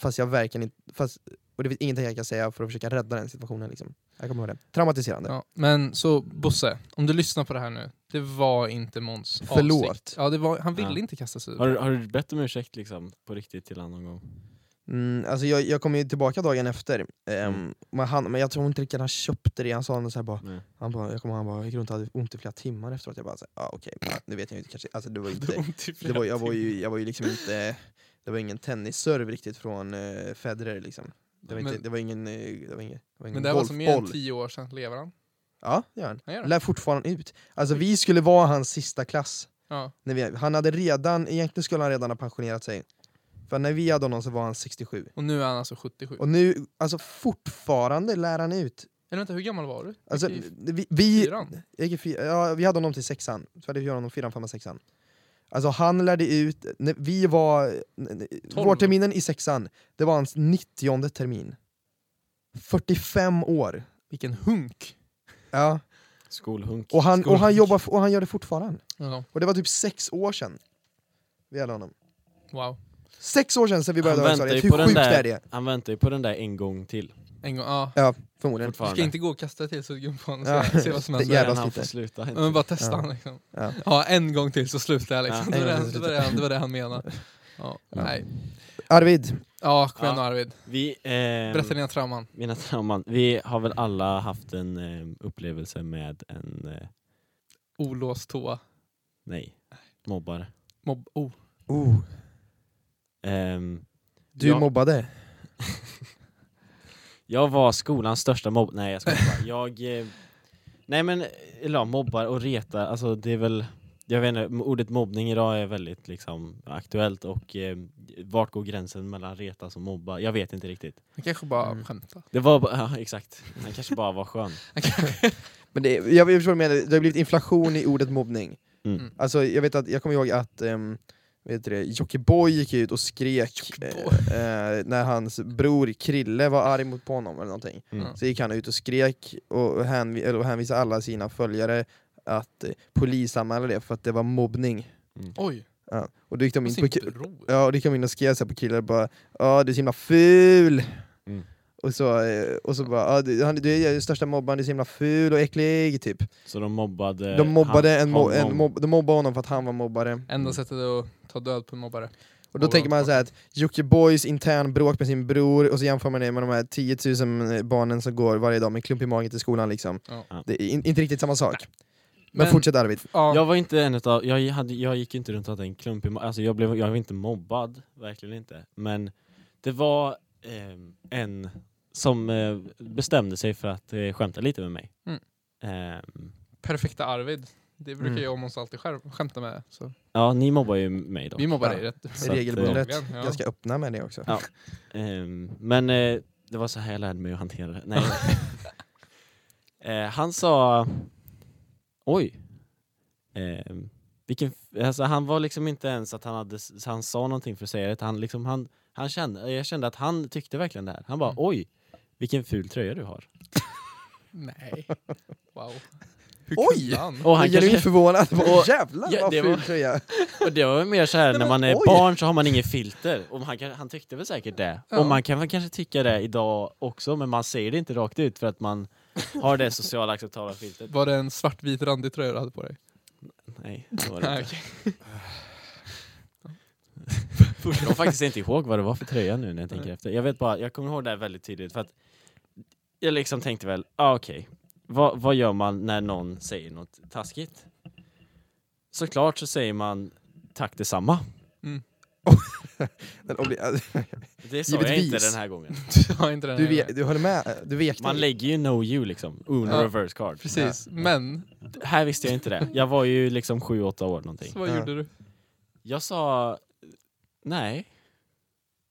Speaker 3: Fast jag verkligen inte, fast, och det finns ingenting jag kan säga för att försöka rädda den situationen liksom. Jag kommer ihåg det. Traumatiserande.
Speaker 1: Ja. Men så Bosse, om du lyssnar på det här nu. Det var inte Måns
Speaker 3: Förlåt.
Speaker 1: avsikt. Ja, det var, han ville
Speaker 2: Ja.
Speaker 1: inte kasta sig ut.
Speaker 2: Har, du- har du bett om ursäkt liksom, på riktigt till honom någon gång?
Speaker 3: Mm, alltså jag, jag kom ju tillbaka dagen efter, ehm,
Speaker 1: Mm.
Speaker 3: men, han, men jag tror inte riktigt han köpte det, han sa något så här bara
Speaker 2: Nej.
Speaker 3: Han bara, jag kommer ihåg, han bara, jag gick runt och hade ont i flera timmar efteråt. Jag bara, så här, ah, okej, ja, nu vet jag ju inte kanske. Alltså, det var ju inte,
Speaker 2: Typ.
Speaker 1: Ont i
Speaker 3: det var, jag, var
Speaker 1: flera
Speaker 3: ju, jag var ju liksom inte, det var ingen tennisserv riktigt från eh, Federer liksom. Det var, inte,
Speaker 1: Men-
Speaker 3: det var ingen, eh, det var ingen, det
Speaker 1: timmar.
Speaker 3: var ingen
Speaker 1: Men det här var som mer
Speaker 3: golfboll.
Speaker 1: än tio år sedan. Lever han?
Speaker 3: ja, det gör han.
Speaker 1: Han gör det.
Speaker 3: Lär fortfarande ut. Alltså vi skulle vara hans sista klass.
Speaker 1: Ja.
Speaker 3: När vi, han hade redan, egentligen skulle han redan ha pensionerat sig. För när vi hade honom så var han 67.
Speaker 1: Och nu är han alltså 77.
Speaker 3: Och nu, alltså fortfarande lär han ut
Speaker 1: Eller vänta, hur gammal var du?
Speaker 3: Alltså,
Speaker 1: Gick i
Speaker 3: vi, vi,
Speaker 1: Fyran?
Speaker 3: jag gick i fy- ja, vi hade honom till sexan, så hade vi honom fyran, femman, sexan. Alltså han lärde ut, när vi var,
Speaker 1: Tolv.
Speaker 3: vårterminen i sexan, det var hans 90 termin. 45 år!
Speaker 1: Vilken hunk!
Speaker 3: Ja.
Speaker 2: Skolhunk.
Speaker 3: Och, han, och, han
Speaker 1: Skolhunk.
Speaker 3: jobbar, f- och han gör det fortfarande.
Speaker 1: Ja,
Speaker 3: Och det var typ sex år sedan vi hade honom.
Speaker 1: wow.
Speaker 3: Sex år sedan sedan vi började
Speaker 2: Han väntar
Speaker 3: högstadiet,
Speaker 2: ju
Speaker 3: hur
Speaker 2: på den
Speaker 3: sjukt är
Speaker 2: där,
Speaker 3: det?
Speaker 2: han väntar ju på den där en gång till.
Speaker 1: En gång, ja.
Speaker 3: Ja, förmodligen.
Speaker 1: Du ska
Speaker 2: Fortfarande.
Speaker 1: inte gå och kasta till sugen på honom
Speaker 3: Ja.
Speaker 1: och se- se vad som
Speaker 3: Det
Speaker 1: händer.
Speaker 3: jävla
Speaker 2: Jävla han får
Speaker 3: sliter.
Speaker 2: sluta.
Speaker 1: Ja, Men bara testa
Speaker 3: Ja.
Speaker 1: han liksom.
Speaker 3: Ja.
Speaker 1: Ja. en gång till så slutar jag liksom.
Speaker 2: Ja,
Speaker 1: Det, var
Speaker 3: en
Speaker 1: det,
Speaker 3: gång till
Speaker 1: han- det, var det, han- det var det han menade. Ja,
Speaker 3: Ja.
Speaker 1: nej.
Speaker 3: Arvid,
Speaker 1: ja kom igen
Speaker 2: Ja.
Speaker 1: nu Arvid.
Speaker 2: Vi, eh,
Speaker 3: Ehm,
Speaker 1: Berätta dina trauman.
Speaker 2: mina trauman. Vi har väl alla haft en eh, upplevelse med en, eh,
Speaker 1: Olåst toa.
Speaker 2: nej, mobbare.
Speaker 1: Mobb. Oh.
Speaker 3: oh,
Speaker 2: Ehm,
Speaker 3: du
Speaker 2: Ja.
Speaker 3: mobbade.
Speaker 2: jag var skolans största mobb... Nej jag skojar bara. Jag... Eh, nej men, eller ja, mobbar och retar, alltså det är väl... Jag vet inte, m- ordet mobbning idag är väldigt liksom aktuellt och eh, vart går gränsen mellan retas och mobba? Jag vet inte riktigt.
Speaker 1: Han kanske bara
Speaker 3: Mm.
Speaker 1: skämtar.
Speaker 2: Det var bara, ja, exakt. Han kanske bara var skön.
Speaker 1: Han kanske-
Speaker 3: Men det, jag förstår vad du menar, det har blivit inflation i ordet mobbning.
Speaker 2: Mm.
Speaker 1: Mm.
Speaker 3: Alltså, jag, vet att, jag kommer ihåg att um, vet du det, Jockiboi gick ut och skrek eh,
Speaker 1: Jockiboi.
Speaker 3: eh, när hans bror Krille var arg mot på honom eller någonting.
Speaker 2: Mm.
Speaker 3: Så gick han ut och skrek och, hänvi- eller, och hänvisade alla sina följare att eh, polisanmäla det för att det var mobbning.
Speaker 1: Oj,
Speaker 3: Ja. Och då gick de
Speaker 1: på
Speaker 3: in
Speaker 1: sin
Speaker 3: på, Kri-
Speaker 1: bro.
Speaker 3: ja, och då gick de in och skrev så här på Krille och bara ”Ja, du är så himla ful!”
Speaker 2: Mm.
Speaker 3: och, så, eh, och så bara "Ja, du, han- ”Du är den största mobbaren, du är så himla ful och äcklig” typ.
Speaker 2: Så de mobbade...
Speaker 3: De mobbade,
Speaker 2: Eh, han-
Speaker 3: en mo-
Speaker 2: honom.
Speaker 3: en mobb- de mobbade honom för att han var mobbare.
Speaker 1: Enda sättet att ta död på en mobbare.
Speaker 3: Och då
Speaker 1: Och
Speaker 3: tänker man
Speaker 1: vad-
Speaker 3: så här att Jockibois intern bråk med sin bror och så jämför man det med de här 10 000 barnen som går varje dag med klump i magen till skolan liksom.
Speaker 1: Ja.
Speaker 2: Ja.
Speaker 3: Det är in, inte riktigt samma sak. Men,
Speaker 1: Men-
Speaker 3: fortsätt Arvid.
Speaker 1: Ja,
Speaker 2: Jag var inte en utav, jag, hade, jag gick inte runt och hade en klump i ma- alltså jag blev, jag var inte mobbad, verkligen inte. Men det var ehm, en som eh, bestämde sig för att eh, skämta lite med mig.
Speaker 1: Mm.
Speaker 2: Ehm,
Speaker 1: perfekta Arvid. Det brukar
Speaker 3: Mm.
Speaker 1: jag och Måns alltid skär- skämta med. Så.
Speaker 2: ja, ni mobbar ju mig då.
Speaker 1: Vi mobbar
Speaker 3: Ja.
Speaker 1: dig rätt.
Speaker 2: Så att,
Speaker 3: Regelbundet.
Speaker 1: eh, ja.
Speaker 3: Ganska öppna med det också.
Speaker 2: Ja. Ehm, men eh, det var så här jag lärde mig att hantera det. Nej. Eh, han sa... Oj. Ehm, vilken, f- alltså, han var liksom inte ens att han, hade, s- han sa någonting för att säga det. Han liksom, han, han kände, jag kände att han tyckte verkligen det här. Han bara
Speaker 1: Mm.
Speaker 2: oj, vilken ful tröja du har.
Speaker 1: Nej. Wow. Hur
Speaker 3: Oj!
Speaker 1: kunde han?
Speaker 2: Och
Speaker 3: Jag
Speaker 2: han
Speaker 3: är genuint
Speaker 2: kanske,
Speaker 3: förvånad. Vad
Speaker 2: Och-
Speaker 3: jävlar
Speaker 2: Ja,
Speaker 3: vad
Speaker 2: det
Speaker 3: ful
Speaker 2: var-
Speaker 3: tröja.
Speaker 2: och det var mer så här
Speaker 3: Nej,
Speaker 2: när
Speaker 3: men
Speaker 2: man är
Speaker 3: oj.
Speaker 2: barn så har man ingen filter. Och han, kan- han tyckte väl säkert det.
Speaker 1: Ja.
Speaker 2: Och man kan väl kanske tycka det idag också men man säger det inte rakt ut för att man har det sociala acceptabla filtret.
Speaker 1: Var det en svartvit randig tröja du hade på dig?
Speaker 2: Nej, det var det
Speaker 1: Nej,
Speaker 2: inte.
Speaker 1: okej.
Speaker 2: Jag kommer faktiskt inte ihåg vad det var för tröja nu när jag tänker efter. Jag vet bara, jag kommer ihåg det här väldigt tydligt för att jag liksom tänkte väl, ah, okej, vad, vad gör man när någon säger något taskigt? Såklart så säger man tack detsamma.
Speaker 3: Den
Speaker 2: Eh,
Speaker 3: obli-
Speaker 2: Det sa jag
Speaker 3: Givetvis.
Speaker 2: inte den här gången.
Speaker 1: Du har inte den
Speaker 3: Du,
Speaker 1: här
Speaker 3: ve- du håller med? Du vek
Speaker 2: Man lägger ju no you liksom, uno
Speaker 1: Ja.
Speaker 2: reverse card.
Speaker 1: Precis, men
Speaker 2: Här visste jag inte det. Jag var ju liksom sju åtta år någonting.
Speaker 1: så vad
Speaker 3: Ja.
Speaker 1: gjorde du?
Speaker 2: Jag sa nej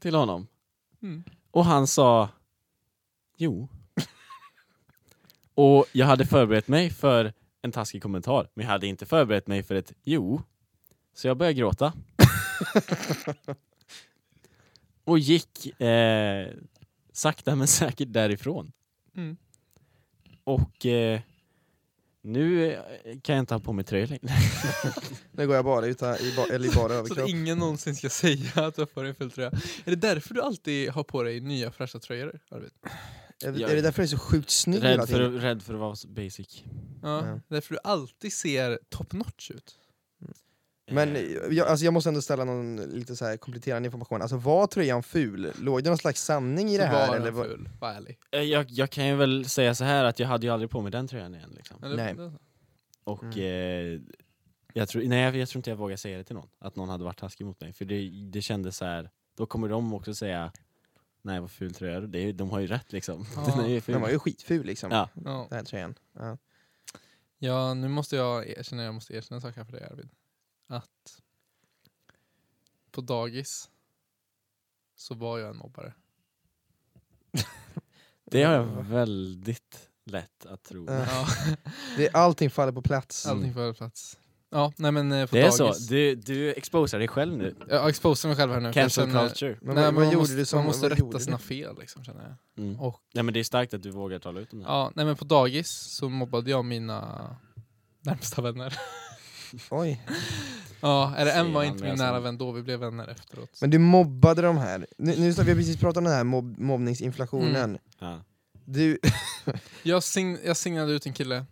Speaker 2: till honom.
Speaker 1: Mm.
Speaker 2: Och han sa jo. och jag hade förberett mig för en taskig kommentar, men jag hade inte förberett mig för ett jo. Så jag började gråta. och gick eh, sakta men säkert därifrån.
Speaker 1: Mm.
Speaker 2: Och eh, nu eh, kan jag inte ha på mig tröja längre.
Speaker 3: Nu går jag bara utan, i, ba- eller i bara
Speaker 1: Så att
Speaker 3: överkropp.
Speaker 1: ingen någonsin ska säga att du har på dig en ful tröja. Är det därför du alltid har på dig nya fräscha tröjor, Arvid?
Speaker 3: Är, är det därför du är så sjukt snygg hela
Speaker 2: Rädd för,
Speaker 3: tiden?
Speaker 2: rädd för att vara så basic.
Speaker 1: Ja,
Speaker 3: Ja.
Speaker 1: Därför du alltid ser top notch ut?
Speaker 3: Men
Speaker 2: Eh,
Speaker 3: eh, jag, alltså jag måste ändå ställa någon lite så här kompletterande information. Alltså var tröjan ful? Låg det någon slags sanning i det
Speaker 1: Så
Speaker 3: här?
Speaker 1: var
Speaker 3: eller
Speaker 1: den
Speaker 3: vad-
Speaker 1: ful, var ärlig.
Speaker 2: Eh, Jag, jag kan ju väl säga så här att jag hade ju aldrig på mig den tröjan igen liksom.
Speaker 1: Men det-
Speaker 3: Nej.
Speaker 1: det-
Speaker 2: Och
Speaker 3: Mm.
Speaker 2: eh, jag, tror, nej, jag, jag tror inte jag vågar säga det till någon, att någon hade varit taskig mot mig. För det, det kändes så här. då kommer de också säga Nej vad ful tröja, det är, de har ju rätt liksom.
Speaker 1: Ja.
Speaker 2: Den är ju
Speaker 3: Den var
Speaker 2: ful.
Speaker 3: ju skitful liksom.
Speaker 2: Ja.
Speaker 1: Ja.
Speaker 3: Den här tröjan. Ja.
Speaker 1: ja, nu måste jag erkänna, jag måste erkänna en sak här för dig Arvid. Att på dagis så var jag en mobbare.
Speaker 2: Det har jag väldigt lätt att tro.
Speaker 3: Ja.
Speaker 1: Ja,
Speaker 3: Det, allting faller på plats.
Speaker 1: allting får plats. Ja, nej men eh, på
Speaker 2: Det är så,
Speaker 1: dagis.
Speaker 2: du, du exposar dig själv nu.
Speaker 1: Jag exposar mig själv här nu. för
Speaker 2: Cancel
Speaker 1: jag känner-
Speaker 2: culture.
Speaker 3: Men
Speaker 1: nej,
Speaker 3: vad,
Speaker 1: men
Speaker 3: vad
Speaker 1: man,
Speaker 3: gjorde
Speaker 1: måste,
Speaker 3: du som...
Speaker 1: man måste
Speaker 3: vad gjorde
Speaker 1: rätta
Speaker 3: du?
Speaker 1: sina fel liksom känner jag.
Speaker 2: Mm.
Speaker 1: Och
Speaker 2: Nej men det är starkt att du vågar tala ut om det. här.
Speaker 1: ja, nej men på dagis så mobbade jag mina närmsta vänner.
Speaker 3: Oj.
Speaker 1: Ja, eller en var
Speaker 2: Ser man
Speaker 1: inte
Speaker 2: det
Speaker 1: min
Speaker 2: som-
Speaker 1: nära vän då, vi blev vänner efteråt.
Speaker 3: Men du mobbade de här. Nu, nu vi har precis pratat om den här mobb, mobbningsinflationen.
Speaker 1: Mm.
Speaker 2: Ja.
Speaker 3: Du,
Speaker 1: Jag, sign, jag signade ut en kille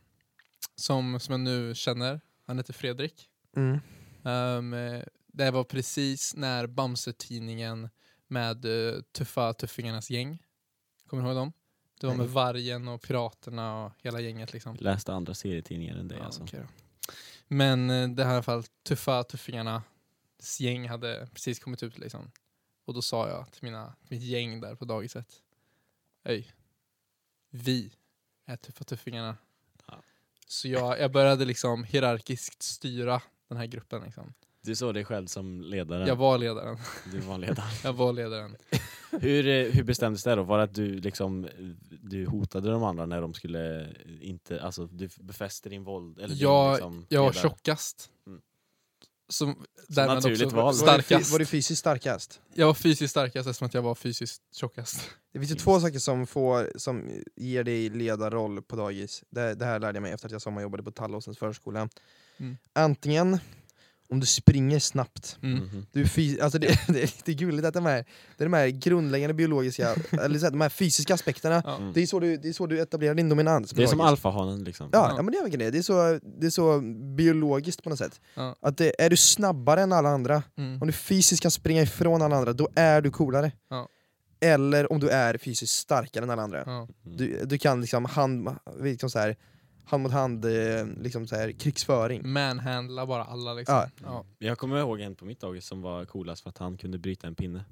Speaker 1: som, som jag nu känner. Han heter Fredrik.
Speaker 3: mm.
Speaker 1: Ehm, eh, det var precis när Bamse-tidningen med eh, Tuffa Tuffingarnas gäng, kommer du ihåg dem? Det var med
Speaker 3: Nej.
Speaker 1: Vargen och Piraterna och hela gänget liksom.
Speaker 2: Jag läste andra serietidningar än dig
Speaker 1: Ja,
Speaker 2: alltså.
Speaker 1: okej då. Men eh, det här fallet, Tuffa Tuffingarnas gäng hade precis kommit ut liksom. Och då sa jag till mina, mitt gäng där på dagiset. Öj, vi är Tuffa Tuffingarna.
Speaker 2: Ja.
Speaker 1: Så jag, jag började liksom hierarkiskt styra den här gruppen liksom.
Speaker 2: Du såg dig själv som ledare.
Speaker 1: Jag var ledaren.
Speaker 2: Du var ledaren.
Speaker 1: Jag var ledaren.
Speaker 2: hur, eh, hur bestämdes det då? Var det att du liksom eh, du hotade de andra när de skulle eh, inte, alltså du befäste din våld? Eller din,
Speaker 1: Jag-
Speaker 2: liksom,
Speaker 1: Jag var
Speaker 2: ledare?
Speaker 1: tjockast.
Speaker 2: Mm.
Speaker 1: Som därmed
Speaker 2: naturligt
Speaker 1: också
Speaker 2: val.
Speaker 3: var, du, fy-
Speaker 1: starkast.
Speaker 3: var du fysiskt starkast?
Speaker 1: Jag var fysiskt starkast eftersom att jag var fysiskt tjockast.
Speaker 3: Det finns ju
Speaker 2: Finns.
Speaker 3: två saker som, får, som ger dig ledarroll på dagis. Det, det här lärde jag mig efter att jag sommarjobbade på Tallåsens förskola.
Speaker 1: Mm.
Speaker 3: Antingen om du springer snabbt.
Speaker 1: Mm.
Speaker 2: Mhm.
Speaker 3: Du är fys- alltså det, det är lite gulligt att de här, det är de här grundläggande biologiska, eller så här, de här fysiska aspekterna,
Speaker 1: Ja.
Speaker 2: Mm.
Speaker 3: det är så du, det är så du etablerar din dominans. på
Speaker 2: Det är som
Speaker 3: dagis.
Speaker 2: alfahanen liksom.
Speaker 3: Ja,
Speaker 1: Ja.
Speaker 3: ja. men det är verkligen det. Det är, så, det är så biologiskt på något sätt.
Speaker 1: Ja.
Speaker 3: Att det, är du snabbare än alla andra,
Speaker 1: Mm.
Speaker 3: om du fysiskt kan springa ifrån alla andra, då är du coolare.
Speaker 1: Ja.
Speaker 3: Eller om du är fysiskt starkare än alla andra.
Speaker 1: Ja.
Speaker 3: Du, du kan liksom hand, liksom så här, hand mot hand, eh, liksom så här, krigsföring.
Speaker 1: Mm. Manhandla bara alla liksom.
Speaker 3: Ja.
Speaker 1: Ja.
Speaker 2: Jag kommer ihåg en på mitt dagis som var coolast för att han kunde bryta en pinne.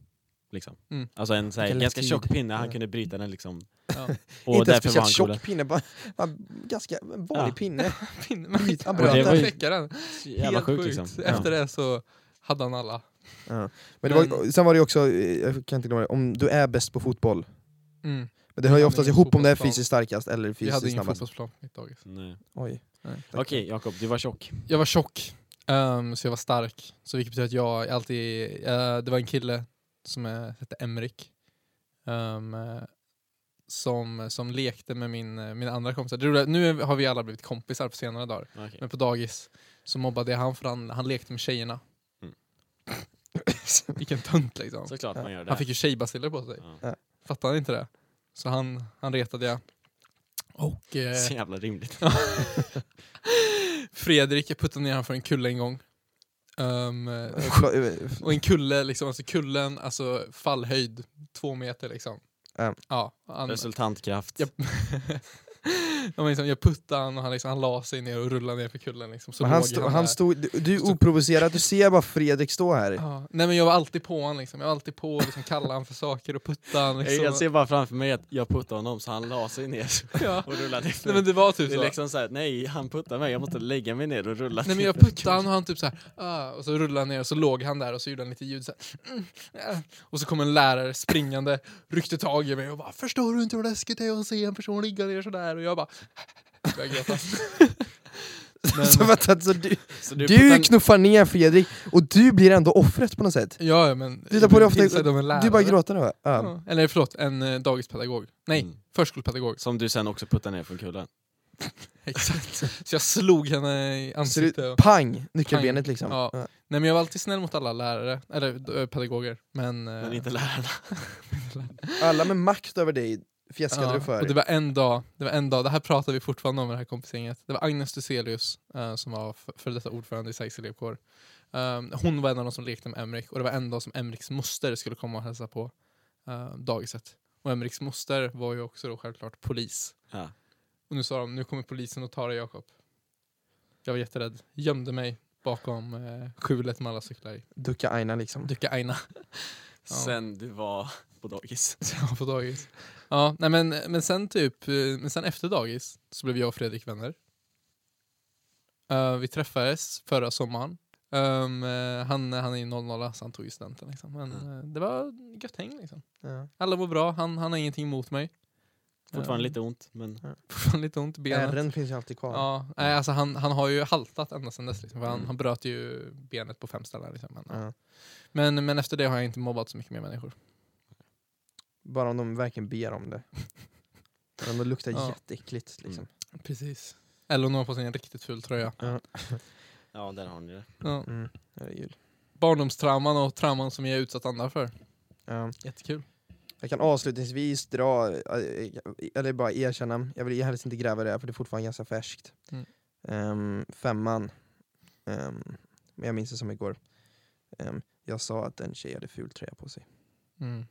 Speaker 2: Liksom.
Speaker 1: Mm.
Speaker 2: Alltså en så här,
Speaker 3: Vilken
Speaker 2: ganska
Speaker 3: lätt
Speaker 2: tjock
Speaker 3: tid.
Speaker 2: pinne, han
Speaker 3: Ja.
Speaker 2: kunde bryta den liksom.
Speaker 1: Ja.
Speaker 2: Och
Speaker 3: Inte
Speaker 2: därför var
Speaker 3: en speciellt
Speaker 2: han
Speaker 3: tjock
Speaker 2: coolast.
Speaker 3: pinne, bara, bara ganska en vanlig
Speaker 2: Ja.
Speaker 3: pinne.
Speaker 1: Pinne- Man
Speaker 3: Skit, han
Speaker 1: bröt
Speaker 2: bröt
Speaker 1: den
Speaker 2: den.
Speaker 1: veckaren.
Speaker 2: Jävla
Speaker 1: Helt
Speaker 2: sjukt
Speaker 1: sjukt.
Speaker 2: liksom.
Speaker 1: Efter det så hade han alla.
Speaker 3: Ja. Men det var,
Speaker 1: Men-
Speaker 3: sen var det ju också, eh, jag kan inte glömma det, om du är bäst på fotboll.
Speaker 1: Mm.
Speaker 3: Men det hör ju
Speaker 1: hade
Speaker 3: oftast
Speaker 1: ingen
Speaker 3: ihop om det är
Speaker 1: fotbollsplan.
Speaker 3: fysiskt starkast eller
Speaker 1: Vi hade
Speaker 3: fysiskt
Speaker 1: ingen
Speaker 3: snabbast.
Speaker 1: fotbollsplan på mitt dagis.
Speaker 2: Nej.
Speaker 3: Oj.
Speaker 1: Nej.
Speaker 3: Tack.
Speaker 2: Okej Jakob, du var tjock.
Speaker 1: Jag var tjock, ehm, så jag var stark. Så vilket betyder att jag alltid... eh, det var en kille som eh, hette Emrik. ehm, eh, som, som lekte med min, eh, mina andra kompisar. Det roliga- nu har vi alla blivit kompisar på senare dagar.
Speaker 2: Okej.
Speaker 1: Men på dagis så mobbade jag han för han, han lekte med tjejerna.
Speaker 2: Mm.
Speaker 1: Vilken tunt liksom.
Speaker 2: Såklart man gör det.
Speaker 1: Han fick ju tjejbaciller på sig.
Speaker 2: Ja.
Speaker 1: Fattar han inte det? Så han, han retade jag. Och eh,
Speaker 2: Så jävla rimligt.
Speaker 1: Fredrik, jag puttade ner honom för en kulle en gång. Ehm, eh,
Speaker 3: Eh, förlåt, eh, f-
Speaker 1: och en kulle, liksom, alltså kullen, alltså fallhöjd, två meter liksom.
Speaker 3: Ja.
Speaker 1: Ja, han,
Speaker 2: Alltså- Resultantkraft.
Speaker 1: jag, jag, liksom, jag puttade han och han, liksom, han la sig ner och rullade ner för kullen. Liksom. Så
Speaker 3: Men han,
Speaker 1: låg
Speaker 3: stod,
Speaker 1: där.
Speaker 3: han stod, du, du är
Speaker 1: Stod-
Speaker 3: oprovocerad, du ser bara Fredrik stå här.
Speaker 1: Ja. Nej men jag var alltid på honom liksom. Jag var alltid på och liksom, kallade han för saker och puttade han
Speaker 2: Jag,
Speaker 1: liksom.
Speaker 2: jag ser bara framför mig att jag puttade honom så han la sig ner
Speaker 1: ja.
Speaker 2: och rullade efter
Speaker 1: Nej
Speaker 2: mig.
Speaker 1: men det var typ
Speaker 2: Det är
Speaker 1: så.
Speaker 2: liksom såhär, nej han puttar mig, jag måste lägga mig ner och rulla
Speaker 1: Nej men
Speaker 2: till
Speaker 1: jag
Speaker 2: för
Speaker 1: puttade han och han typ så här, ah, och så rullade han ner och så låg han där och så gjorde han lite ljud så här, mm, ah. Och så kom en lärare springande, ryckte tag i mig och bara “Förstår du inte hur läskigt det är att se en person ligga ner sådär?” och jag bara började gråta.
Speaker 3: så
Speaker 1: Men,
Speaker 3: vänta, så du
Speaker 2: kulen. Så
Speaker 3: du
Speaker 2: puttar-
Speaker 3: knuffar ner Fredrik, och du blir ändå offret på något sätt.
Speaker 1: ja, ja, men...
Speaker 3: Du tar på dig ofta,
Speaker 1: tillsagd av en lärare.
Speaker 3: du bara gråter då? Ja.
Speaker 1: Ja. Eller förlåt, en eh, dagispedagog. Nej,
Speaker 2: Mm.
Speaker 1: förskolepedagog.
Speaker 2: Som du sen också puttar ner från kullen.
Speaker 1: Exakt. Så jag slog henne i
Speaker 3: Så du,
Speaker 1: ansiktet. och-
Speaker 3: pang, nyckelbenet liksom.
Speaker 1: Ja.
Speaker 3: Ja.
Speaker 1: Nej men jag var alltid snäll mot alla lärare, eller eh, pedagoger. Men, eh,
Speaker 2: Men inte lärarna.
Speaker 3: Alla med makt över dig fjäskade
Speaker 1: ja,
Speaker 3: du för.
Speaker 1: Och det var en dag, det var en dag, det här pratar vi fortfarande om i det här kompisgänget. Det var Agnes Duselius eh, som var f- före detta ordförande i Sveriges elevkår. Ehm, hon var en av de som lekte med Emrik och det var en dag som Emriks moster skulle komma och hälsa på uh, dagiset. Och Emriks moster var ju också då självklart polis.
Speaker 2: Ja.
Speaker 1: Och nu sa de, nu kommer polisen och tar dig Jakob. Jag var jätterädd, gömde mig bakom eh, skjulet med alla cyklar i.
Speaker 3: Ducka Aina liksom.
Speaker 1: Ducka Aina. Ja.
Speaker 2: Sen du var på dagis.
Speaker 1: Ja, på dagis. Ja, nej men, men sen typ, eh, men sen efter dagis så blev jag och Fredrik vänner. Eh, vi träffades förra sommaren. Ehm, eh, han, han är ju 00 så han tog ju studenten liksom. Men
Speaker 2: Mm.
Speaker 1: eh, det var gött häng liksom.
Speaker 3: Ja.
Speaker 1: Alla mår bra, han, han har ingenting emot mig.
Speaker 2: Fortfarande
Speaker 1: Eh,
Speaker 2: lite ont, men
Speaker 1: fortfarande lite ont i benet.
Speaker 3: Ärren finns ju alltid kvar.
Speaker 1: Ja, nej, alltså han, han har ju haltat ända sedan dess. Liksom, för
Speaker 2: Mm.
Speaker 1: han, han bröt ju benet på fem ställen. Liksom, men,
Speaker 3: Ja.
Speaker 1: men, men efter det har jag inte mobbat så mycket mer människor.
Speaker 3: Bara om de verkligen ber om det. Men de luktar
Speaker 1: Ja.
Speaker 3: jätteäckligt liksom.
Speaker 1: Precis. Eleanor på sin riktigt ful tröja.
Speaker 2: ja, där har ni det.
Speaker 1: Ja.
Speaker 3: Mm. Herregud.
Speaker 1: Barndomstrauman och trauman som jag är utsatt andra för.
Speaker 3: Ja.
Speaker 1: Jättekul.
Speaker 3: Jag kan avslutningsvis dra, eh, eller bara erkänna, jag vill helst inte gräva i det här, för det är fortfarande ganska färskt.
Speaker 1: Mm.
Speaker 3: Ehm, femman, Ehm, men jag minns det som igår. Ehm, jag sa att en tjej hade ful tröja på sig.
Speaker 1: Mm.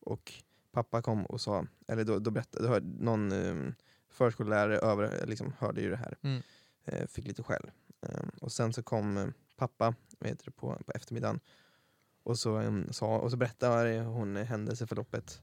Speaker 3: Och pappa kom och sa, eller då, då berättade, då hörde någon um, förskollärare över, liksom, hörde ju det här.
Speaker 1: Mm.
Speaker 3: Eh, fick lite skäll. Ehm, och sen så kom eh, pappa vad heter det, på, på eftermiddagen och så, ehm, sa, och så berättade hon eh, händelseförloppet.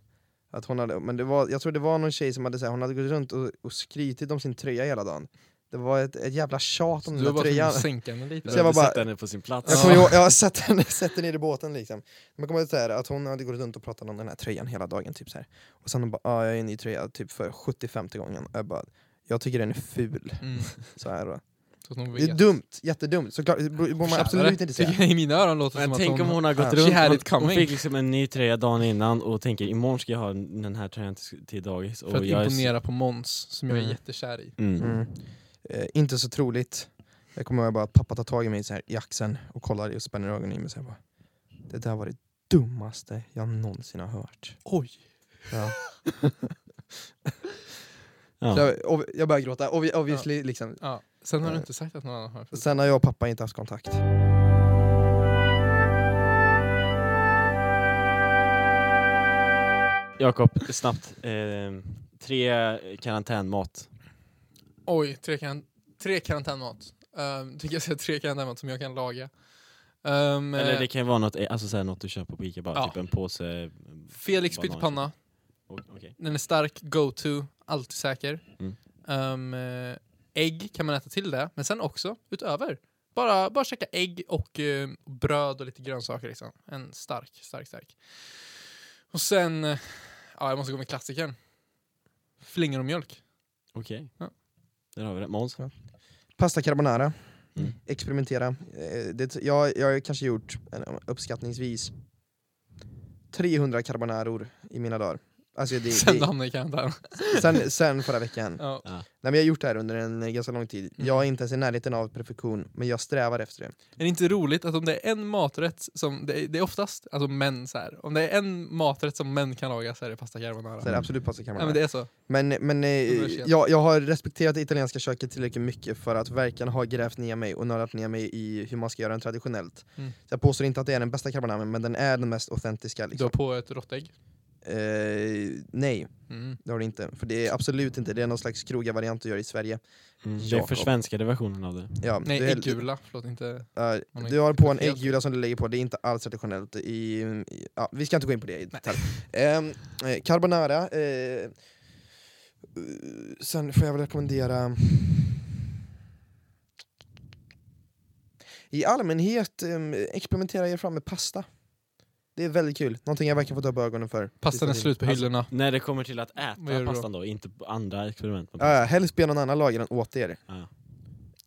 Speaker 3: Att hon hade, men det var, jag tror det var någon tjej som hade, så här, hon hade gått runt och, och skrytit om sin tröja hela dagen. Det var ett, ett jävla tjat
Speaker 1: Så
Speaker 3: om
Speaker 1: du
Speaker 3: den
Speaker 1: har bara
Speaker 3: där
Speaker 1: tvungen
Speaker 3: tröjan.
Speaker 1: att sänka mig
Speaker 2: Du
Speaker 1: lite.
Speaker 3: Så jag
Speaker 2: behöver
Speaker 3: var bara-
Speaker 2: sätta henne på sin plats.
Speaker 3: Jag
Speaker 1: Ja.
Speaker 3: kommer ihåg, jag satt henne, satt henne i båten liksom. Man kommer ihåg så här, att hon hade gått runt och pratat om den här tröjan hela dagen. Typ så här. Och sen hon bara, ah, jag är en ny tröja typ för 75 gången. Och Jag bara, jag tycker den är ful.
Speaker 1: Mm.
Speaker 3: Så här då.
Speaker 1: Så att hon
Speaker 3: Det är
Speaker 1: vet.
Speaker 3: dumt, jättedumt. Såklart, det borde man absolut inte säga.
Speaker 1: Tycker jag I mina öron låter det
Speaker 2: Men
Speaker 1: som
Speaker 2: tänk
Speaker 1: att hon...
Speaker 2: om hon har gått
Speaker 3: She
Speaker 2: runt,
Speaker 1: had
Speaker 2: hon,
Speaker 1: it
Speaker 2: hon
Speaker 1: coming.
Speaker 2: fick liksom en ny tröja dagen innan och tänker imorgon ska jag ha den här tröjan till, till dagis.
Speaker 1: För
Speaker 2: Och
Speaker 1: att
Speaker 2: Oh, jag är så-
Speaker 1: imponera på Måns, som jag är
Speaker 3: Mm.
Speaker 1: jättekär i.
Speaker 2: Mm.
Speaker 3: Mm. Eh, inte så troligt. Jag kommer ihåg bara att pappa tar tag i mig så här, i axeln och kollar och spänner ögonen i mig. Så här, bara, det där var det dummaste jag någonsin har hört.
Speaker 1: Oj!
Speaker 3: Ja.
Speaker 2: Ja.
Speaker 3: Så jag, och jag börjar gråta, Obvi- obviously liksom.
Speaker 1: Ja. Sen har du
Speaker 3: Eh.
Speaker 1: inte sagt att någon annan har ful
Speaker 3: Sen har jag och pappa inte haft kontakt.
Speaker 2: Jakob, snabbt. Eh, tre karantänmat.
Speaker 1: Oj, tre, kan, tre karantänmat. Um, tycker jag säga tre karantänmat som jag kan laga. Ehm,
Speaker 2: Eller
Speaker 1: eh,
Speaker 2: det kan ju vara något, eh, alltså, såhär, något du köper på Ica bara,
Speaker 1: Ja.
Speaker 2: typ en påse. eh,
Speaker 1: Felix
Speaker 2: banan.
Speaker 1: pyttipanna.
Speaker 2: Och- okej.
Speaker 1: Den är stark, go-to, alltid säker.
Speaker 2: Mm.
Speaker 1: Ehm, eh, ägg kan man äta till det, men sen också utöver. Bara, bara käka ägg och eh, bröd och lite grönsaker. Liksom. En stark, stark, stark. Och sen, eh, ja jag måste gå med klassikern. Flingor och mjölk.
Speaker 2: Okej.
Speaker 1: Ja.
Speaker 2: Där har vi det. Måns?
Speaker 3: Pasta carbonara.
Speaker 2: Mm.
Speaker 3: Experimentera. Eh, Det, jag, jag har kanske gjort en- uppskattningsvis 300 carbonaror i mina dagar. Alltså det,
Speaker 1: sen du
Speaker 3: det,
Speaker 1: hamnar i karantän.
Speaker 3: sen, sen förra veckan.
Speaker 1: Ja.
Speaker 3: Nej, men jag har gjort det här under en eh, ganska lång tid.
Speaker 1: Mm.
Speaker 3: Jag är inte ens i närheten av perfektion, men jag strävar efter det.
Speaker 1: Är det inte roligt att om det är en maträtt som, det är, det är oftast, alltså män så här. om det är en maträtt som män kan laga så är det pasta carbonara.
Speaker 3: Så det är absolut pasta
Speaker 1: Mm. Ja,
Speaker 3: carbonara.
Speaker 1: men det är så.
Speaker 3: Men, men eh,
Speaker 1: Universell.
Speaker 3: jag, jag har respekterat det italienska köket tillräckligt mycket för att verkligen ha grävt ner mig och nördat ner mig i hur man ska göra den traditionellt.
Speaker 1: Mm.
Speaker 3: Så jag påstår inte att det är den bästa carbonaren, men den är den mest autentiska.
Speaker 1: Du har
Speaker 3: Liksom.
Speaker 1: på ett råttägg.
Speaker 3: Eh, nej,
Speaker 1: Mm.
Speaker 3: det har det inte. För det är absolut inte, det är någon slags kroga-variant du gör i Sverige.
Speaker 2: Mm. Det är
Speaker 3: Jakob.
Speaker 2: försvenskade versionen av det.
Speaker 3: Ja,
Speaker 1: Nej,
Speaker 3: du, är-
Speaker 1: äggula. Förlåt, inte...
Speaker 3: ja,
Speaker 1: Om det
Speaker 3: du har på en
Speaker 1: helt-
Speaker 3: äggula som du lägger på, det är inte alls traditionellt. I, i, ja, vi ska inte gå in på det i detalj. Ehm, eh, carbonara, eh, eh, sen får jag väl rekommendera I allmänhet, ehm, experimentera er fram med pasta. Det är väldigt kul, någonting jag verkligen fått upp ögonen för.
Speaker 1: Pastan är slut på
Speaker 2: Alltså,
Speaker 1: hyllorna.
Speaker 2: När det kommer till att äta
Speaker 1: Vad gör du då?
Speaker 2: pastan då, inte andra experiment. med
Speaker 3: Ja, helst be någon annan laga den åt er. Eh,
Speaker 2: Ja.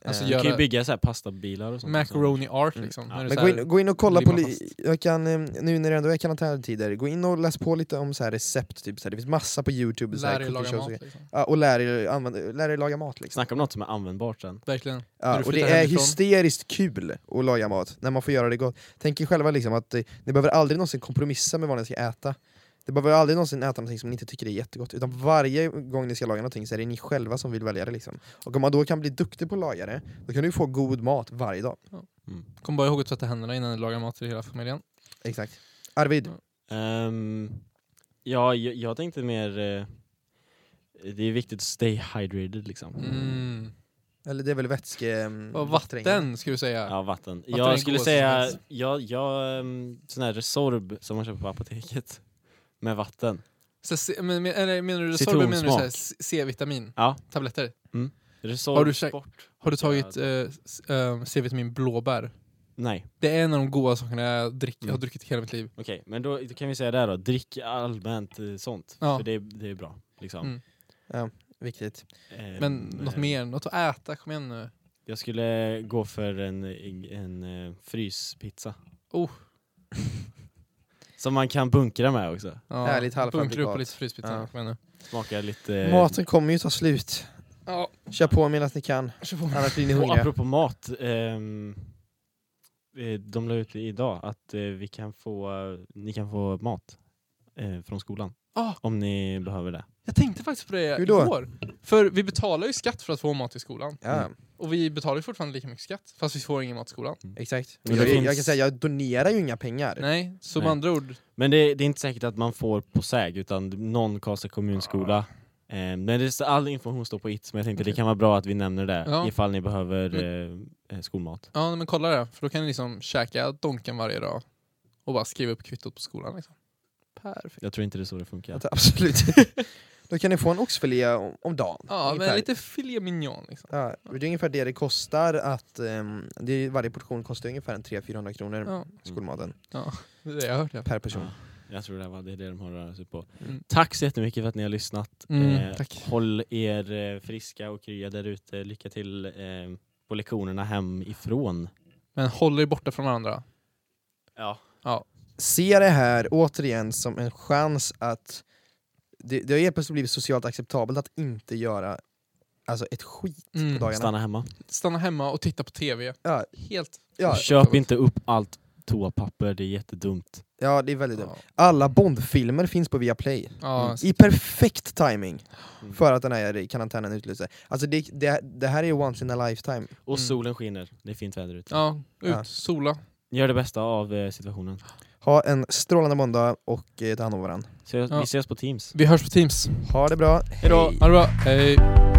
Speaker 1: Alltså,
Speaker 3: Ehm,
Speaker 2: Du kan ju
Speaker 1: Göra-
Speaker 2: bygga så här pastabilar och sånt.
Speaker 1: Macaroni art
Speaker 3: alltså. Mm.
Speaker 1: liksom.
Speaker 2: Ja.
Speaker 1: När du
Speaker 3: Men
Speaker 1: så
Speaker 3: gå
Speaker 1: här-
Speaker 3: in, gå in och kolla på,
Speaker 1: limma
Speaker 3: li-
Speaker 1: fast.
Speaker 3: jag kan, eh, nu när det ändå är karantäntider, gå in och läs på lite om så här recept, typ så här. det finns massa på youtube. så här,
Speaker 1: lär dig
Speaker 3: cooking
Speaker 1: laga
Speaker 3: shows och
Speaker 1: mat.
Speaker 3: grejer.
Speaker 1: Liksom.
Speaker 3: Ja, och lär er, använda, lär er laga mat liksom.
Speaker 2: Snacka om något som är användbart sen.
Speaker 1: Verkligen. när
Speaker 3: Ja,
Speaker 1: du
Speaker 3: och det
Speaker 1: flyttar
Speaker 3: är
Speaker 1: hemifrån.
Speaker 3: hysteriskt kul att laga mat, när man får göra det gott. Tänk er själva liksom att eh, ni behöver aldrig någonsin kompromissa med vad ni ska äta. Ni behöver aldrig någonsin äta någonting som ni inte tycker är jättegott, utan varje gång ni ska laga någonting så är det ni själva som vill välja det liksom. Och om man då kan bli duktig på att laga det, då kan du få god mat varje dag.
Speaker 1: Kom bara ihåg att tvätta händerna innan du lagar mat till hela familjen.
Speaker 3: Exakt. Arvid,
Speaker 2: Ehm, ja, jag, jag tänkte mer... eh, det är viktigt att stay hydrated liksom.
Speaker 1: Mm.
Speaker 3: eller det är väl vätske... mm,
Speaker 1: Och
Speaker 3: dräng.
Speaker 1: vatten skulle du säga.
Speaker 2: Ja, vatten.
Speaker 1: är
Speaker 2: jag
Speaker 1: godast
Speaker 2: skulle
Speaker 1: som
Speaker 2: säga,
Speaker 1: finns.
Speaker 2: jag, jag, ehm, sån här Resorb som man köper på apoteket. Med vatten.
Speaker 1: Så, se- men, men, eller, menar du Resorb eller menar du så här C- C-vitamin?
Speaker 2: Ja.
Speaker 1: Tabletter?
Speaker 2: Resorb
Speaker 1: Har du käk-
Speaker 2: Sport.
Speaker 1: Har du tagit eh, s- eh, C-vitamin blåbär?
Speaker 2: Nej,
Speaker 1: Det är en av de goda sakerna jag, drick,
Speaker 2: Mm.
Speaker 1: jag har druckit i hela mitt liv.
Speaker 2: okej. Men då, då kan vi säga det här då. Drick allmänt eh, sånt.
Speaker 1: Ja.
Speaker 2: För det, det är bra. Liksom.
Speaker 1: Mm.
Speaker 3: Viktigt.
Speaker 2: Ehm,
Speaker 1: Men något
Speaker 2: eh,
Speaker 1: mer, något att äta, kom igen nu.
Speaker 2: Jag skulle gå för en, en eh, fryspizza.
Speaker 1: Oh.
Speaker 2: Som man kan bunkra med också.
Speaker 1: Ja,
Speaker 3: Härligt halvfabrikat.
Speaker 1: Bunkra upp på lite fryspizza,
Speaker 3: Ja.
Speaker 1: kom igen nu.
Speaker 2: Smakar lite...
Speaker 3: Maten kommer ju ta slut.
Speaker 1: Ja,
Speaker 3: Kör på medan ni kan,
Speaker 1: kör på.
Speaker 3: annars blir ni
Speaker 2: Och
Speaker 3: hungriga.
Speaker 2: apropå mat. ehm, eh, de la ut idag att eh, vi kan få, ni kan få mat eh, från skolan.
Speaker 1: Ah.
Speaker 2: Om ni behöver det.
Speaker 1: Jag tänkte faktiskt på det
Speaker 3: Hur då?
Speaker 1: igår. För vi betalar ju skatt för att få mat i skolan.
Speaker 3: Ja,
Speaker 1: Och vi betalar ju fortfarande lika mycket skatt, fast vi får ingen mat i skolan.
Speaker 3: exakt.
Speaker 2: Men
Speaker 3: jag,
Speaker 2: det
Speaker 3: jag
Speaker 2: finns-
Speaker 3: kan säga, jag donerar ju inga pengar.
Speaker 1: Nej, så
Speaker 2: Nej.
Speaker 1: med andra ord,
Speaker 2: Men det, det är inte säkert att man får på säg utan någon Karlstad kommunskola.
Speaker 1: Ah.
Speaker 2: Eh, men det, står- all information står på it, men jag tänkte det kan vara bra att vi nämner det
Speaker 1: Ja. Mm.
Speaker 2: ifall ni behöver eh, eh, skolmat.
Speaker 1: ja men kolla det. För då kan ni liksom käka Donken varje dag och bara skriva upp kvittot på skolan liksom. Perfekt.
Speaker 2: Jag tror inte det är så det funkar.
Speaker 3: Att- Absolut. Då kan ni få en oxfilé om, om dagen.
Speaker 1: Ja,
Speaker 3: ungefär.
Speaker 1: men lite filet mignon liksom.
Speaker 3: Ja, det är ungefär det det kostar att, ehm, det är, varje portion kostar ungefär en 300-400 kronor,
Speaker 1: Ja,
Speaker 3: skolmaten,
Speaker 1: det är det jag hörde.
Speaker 3: per person.
Speaker 2: Ja, jag tror det var det, är det de har rört sig på.
Speaker 1: Mm.
Speaker 2: Tack så jättemycket för att ni har lyssnat.
Speaker 1: Mm, tack.
Speaker 2: Håll er eh, friska och krya där ute. Lycka till eh, på lektionerna hemifrån.
Speaker 1: Men håll er borta från varandra.
Speaker 2: Ja.
Speaker 3: Se det här återigen som en chans att, det, det har helt plötsligt blivit socialt acceptabelt att inte göra alltså ett skit på
Speaker 1: Mm.
Speaker 3: dagarna.
Speaker 2: Stanna hemma.
Speaker 1: Stanna hemma och titta på TV.
Speaker 3: Ja.
Speaker 1: Helt...
Speaker 3: Ja,
Speaker 2: Och köp inte upp allt toapapper, det är jättedumt.
Speaker 3: ja, det är väldigt dumt.
Speaker 1: Ja,
Speaker 3: Alla Bond-filmer finns på Viaplay.
Speaker 1: ja,
Speaker 3: I perfekt timing
Speaker 2: Mm.
Speaker 3: för att den här karantänen utlöser. Alltså det, det, det här är once in a lifetime.
Speaker 2: Och
Speaker 1: Mm.
Speaker 2: solen skiner, det är fint väder ute.
Speaker 1: ja
Speaker 3: Ja.
Speaker 1: ut, sola.
Speaker 2: Gör det bästa av eh, situationen.
Speaker 3: Ha en strålande måndag och eh, ta hand om varandra.
Speaker 2: Så,
Speaker 1: Ja.
Speaker 2: Vi ses på Teams.
Speaker 1: Vi hörs på Teams.
Speaker 3: Ha det bra,
Speaker 1: Hej då. Ha det bra. Hej.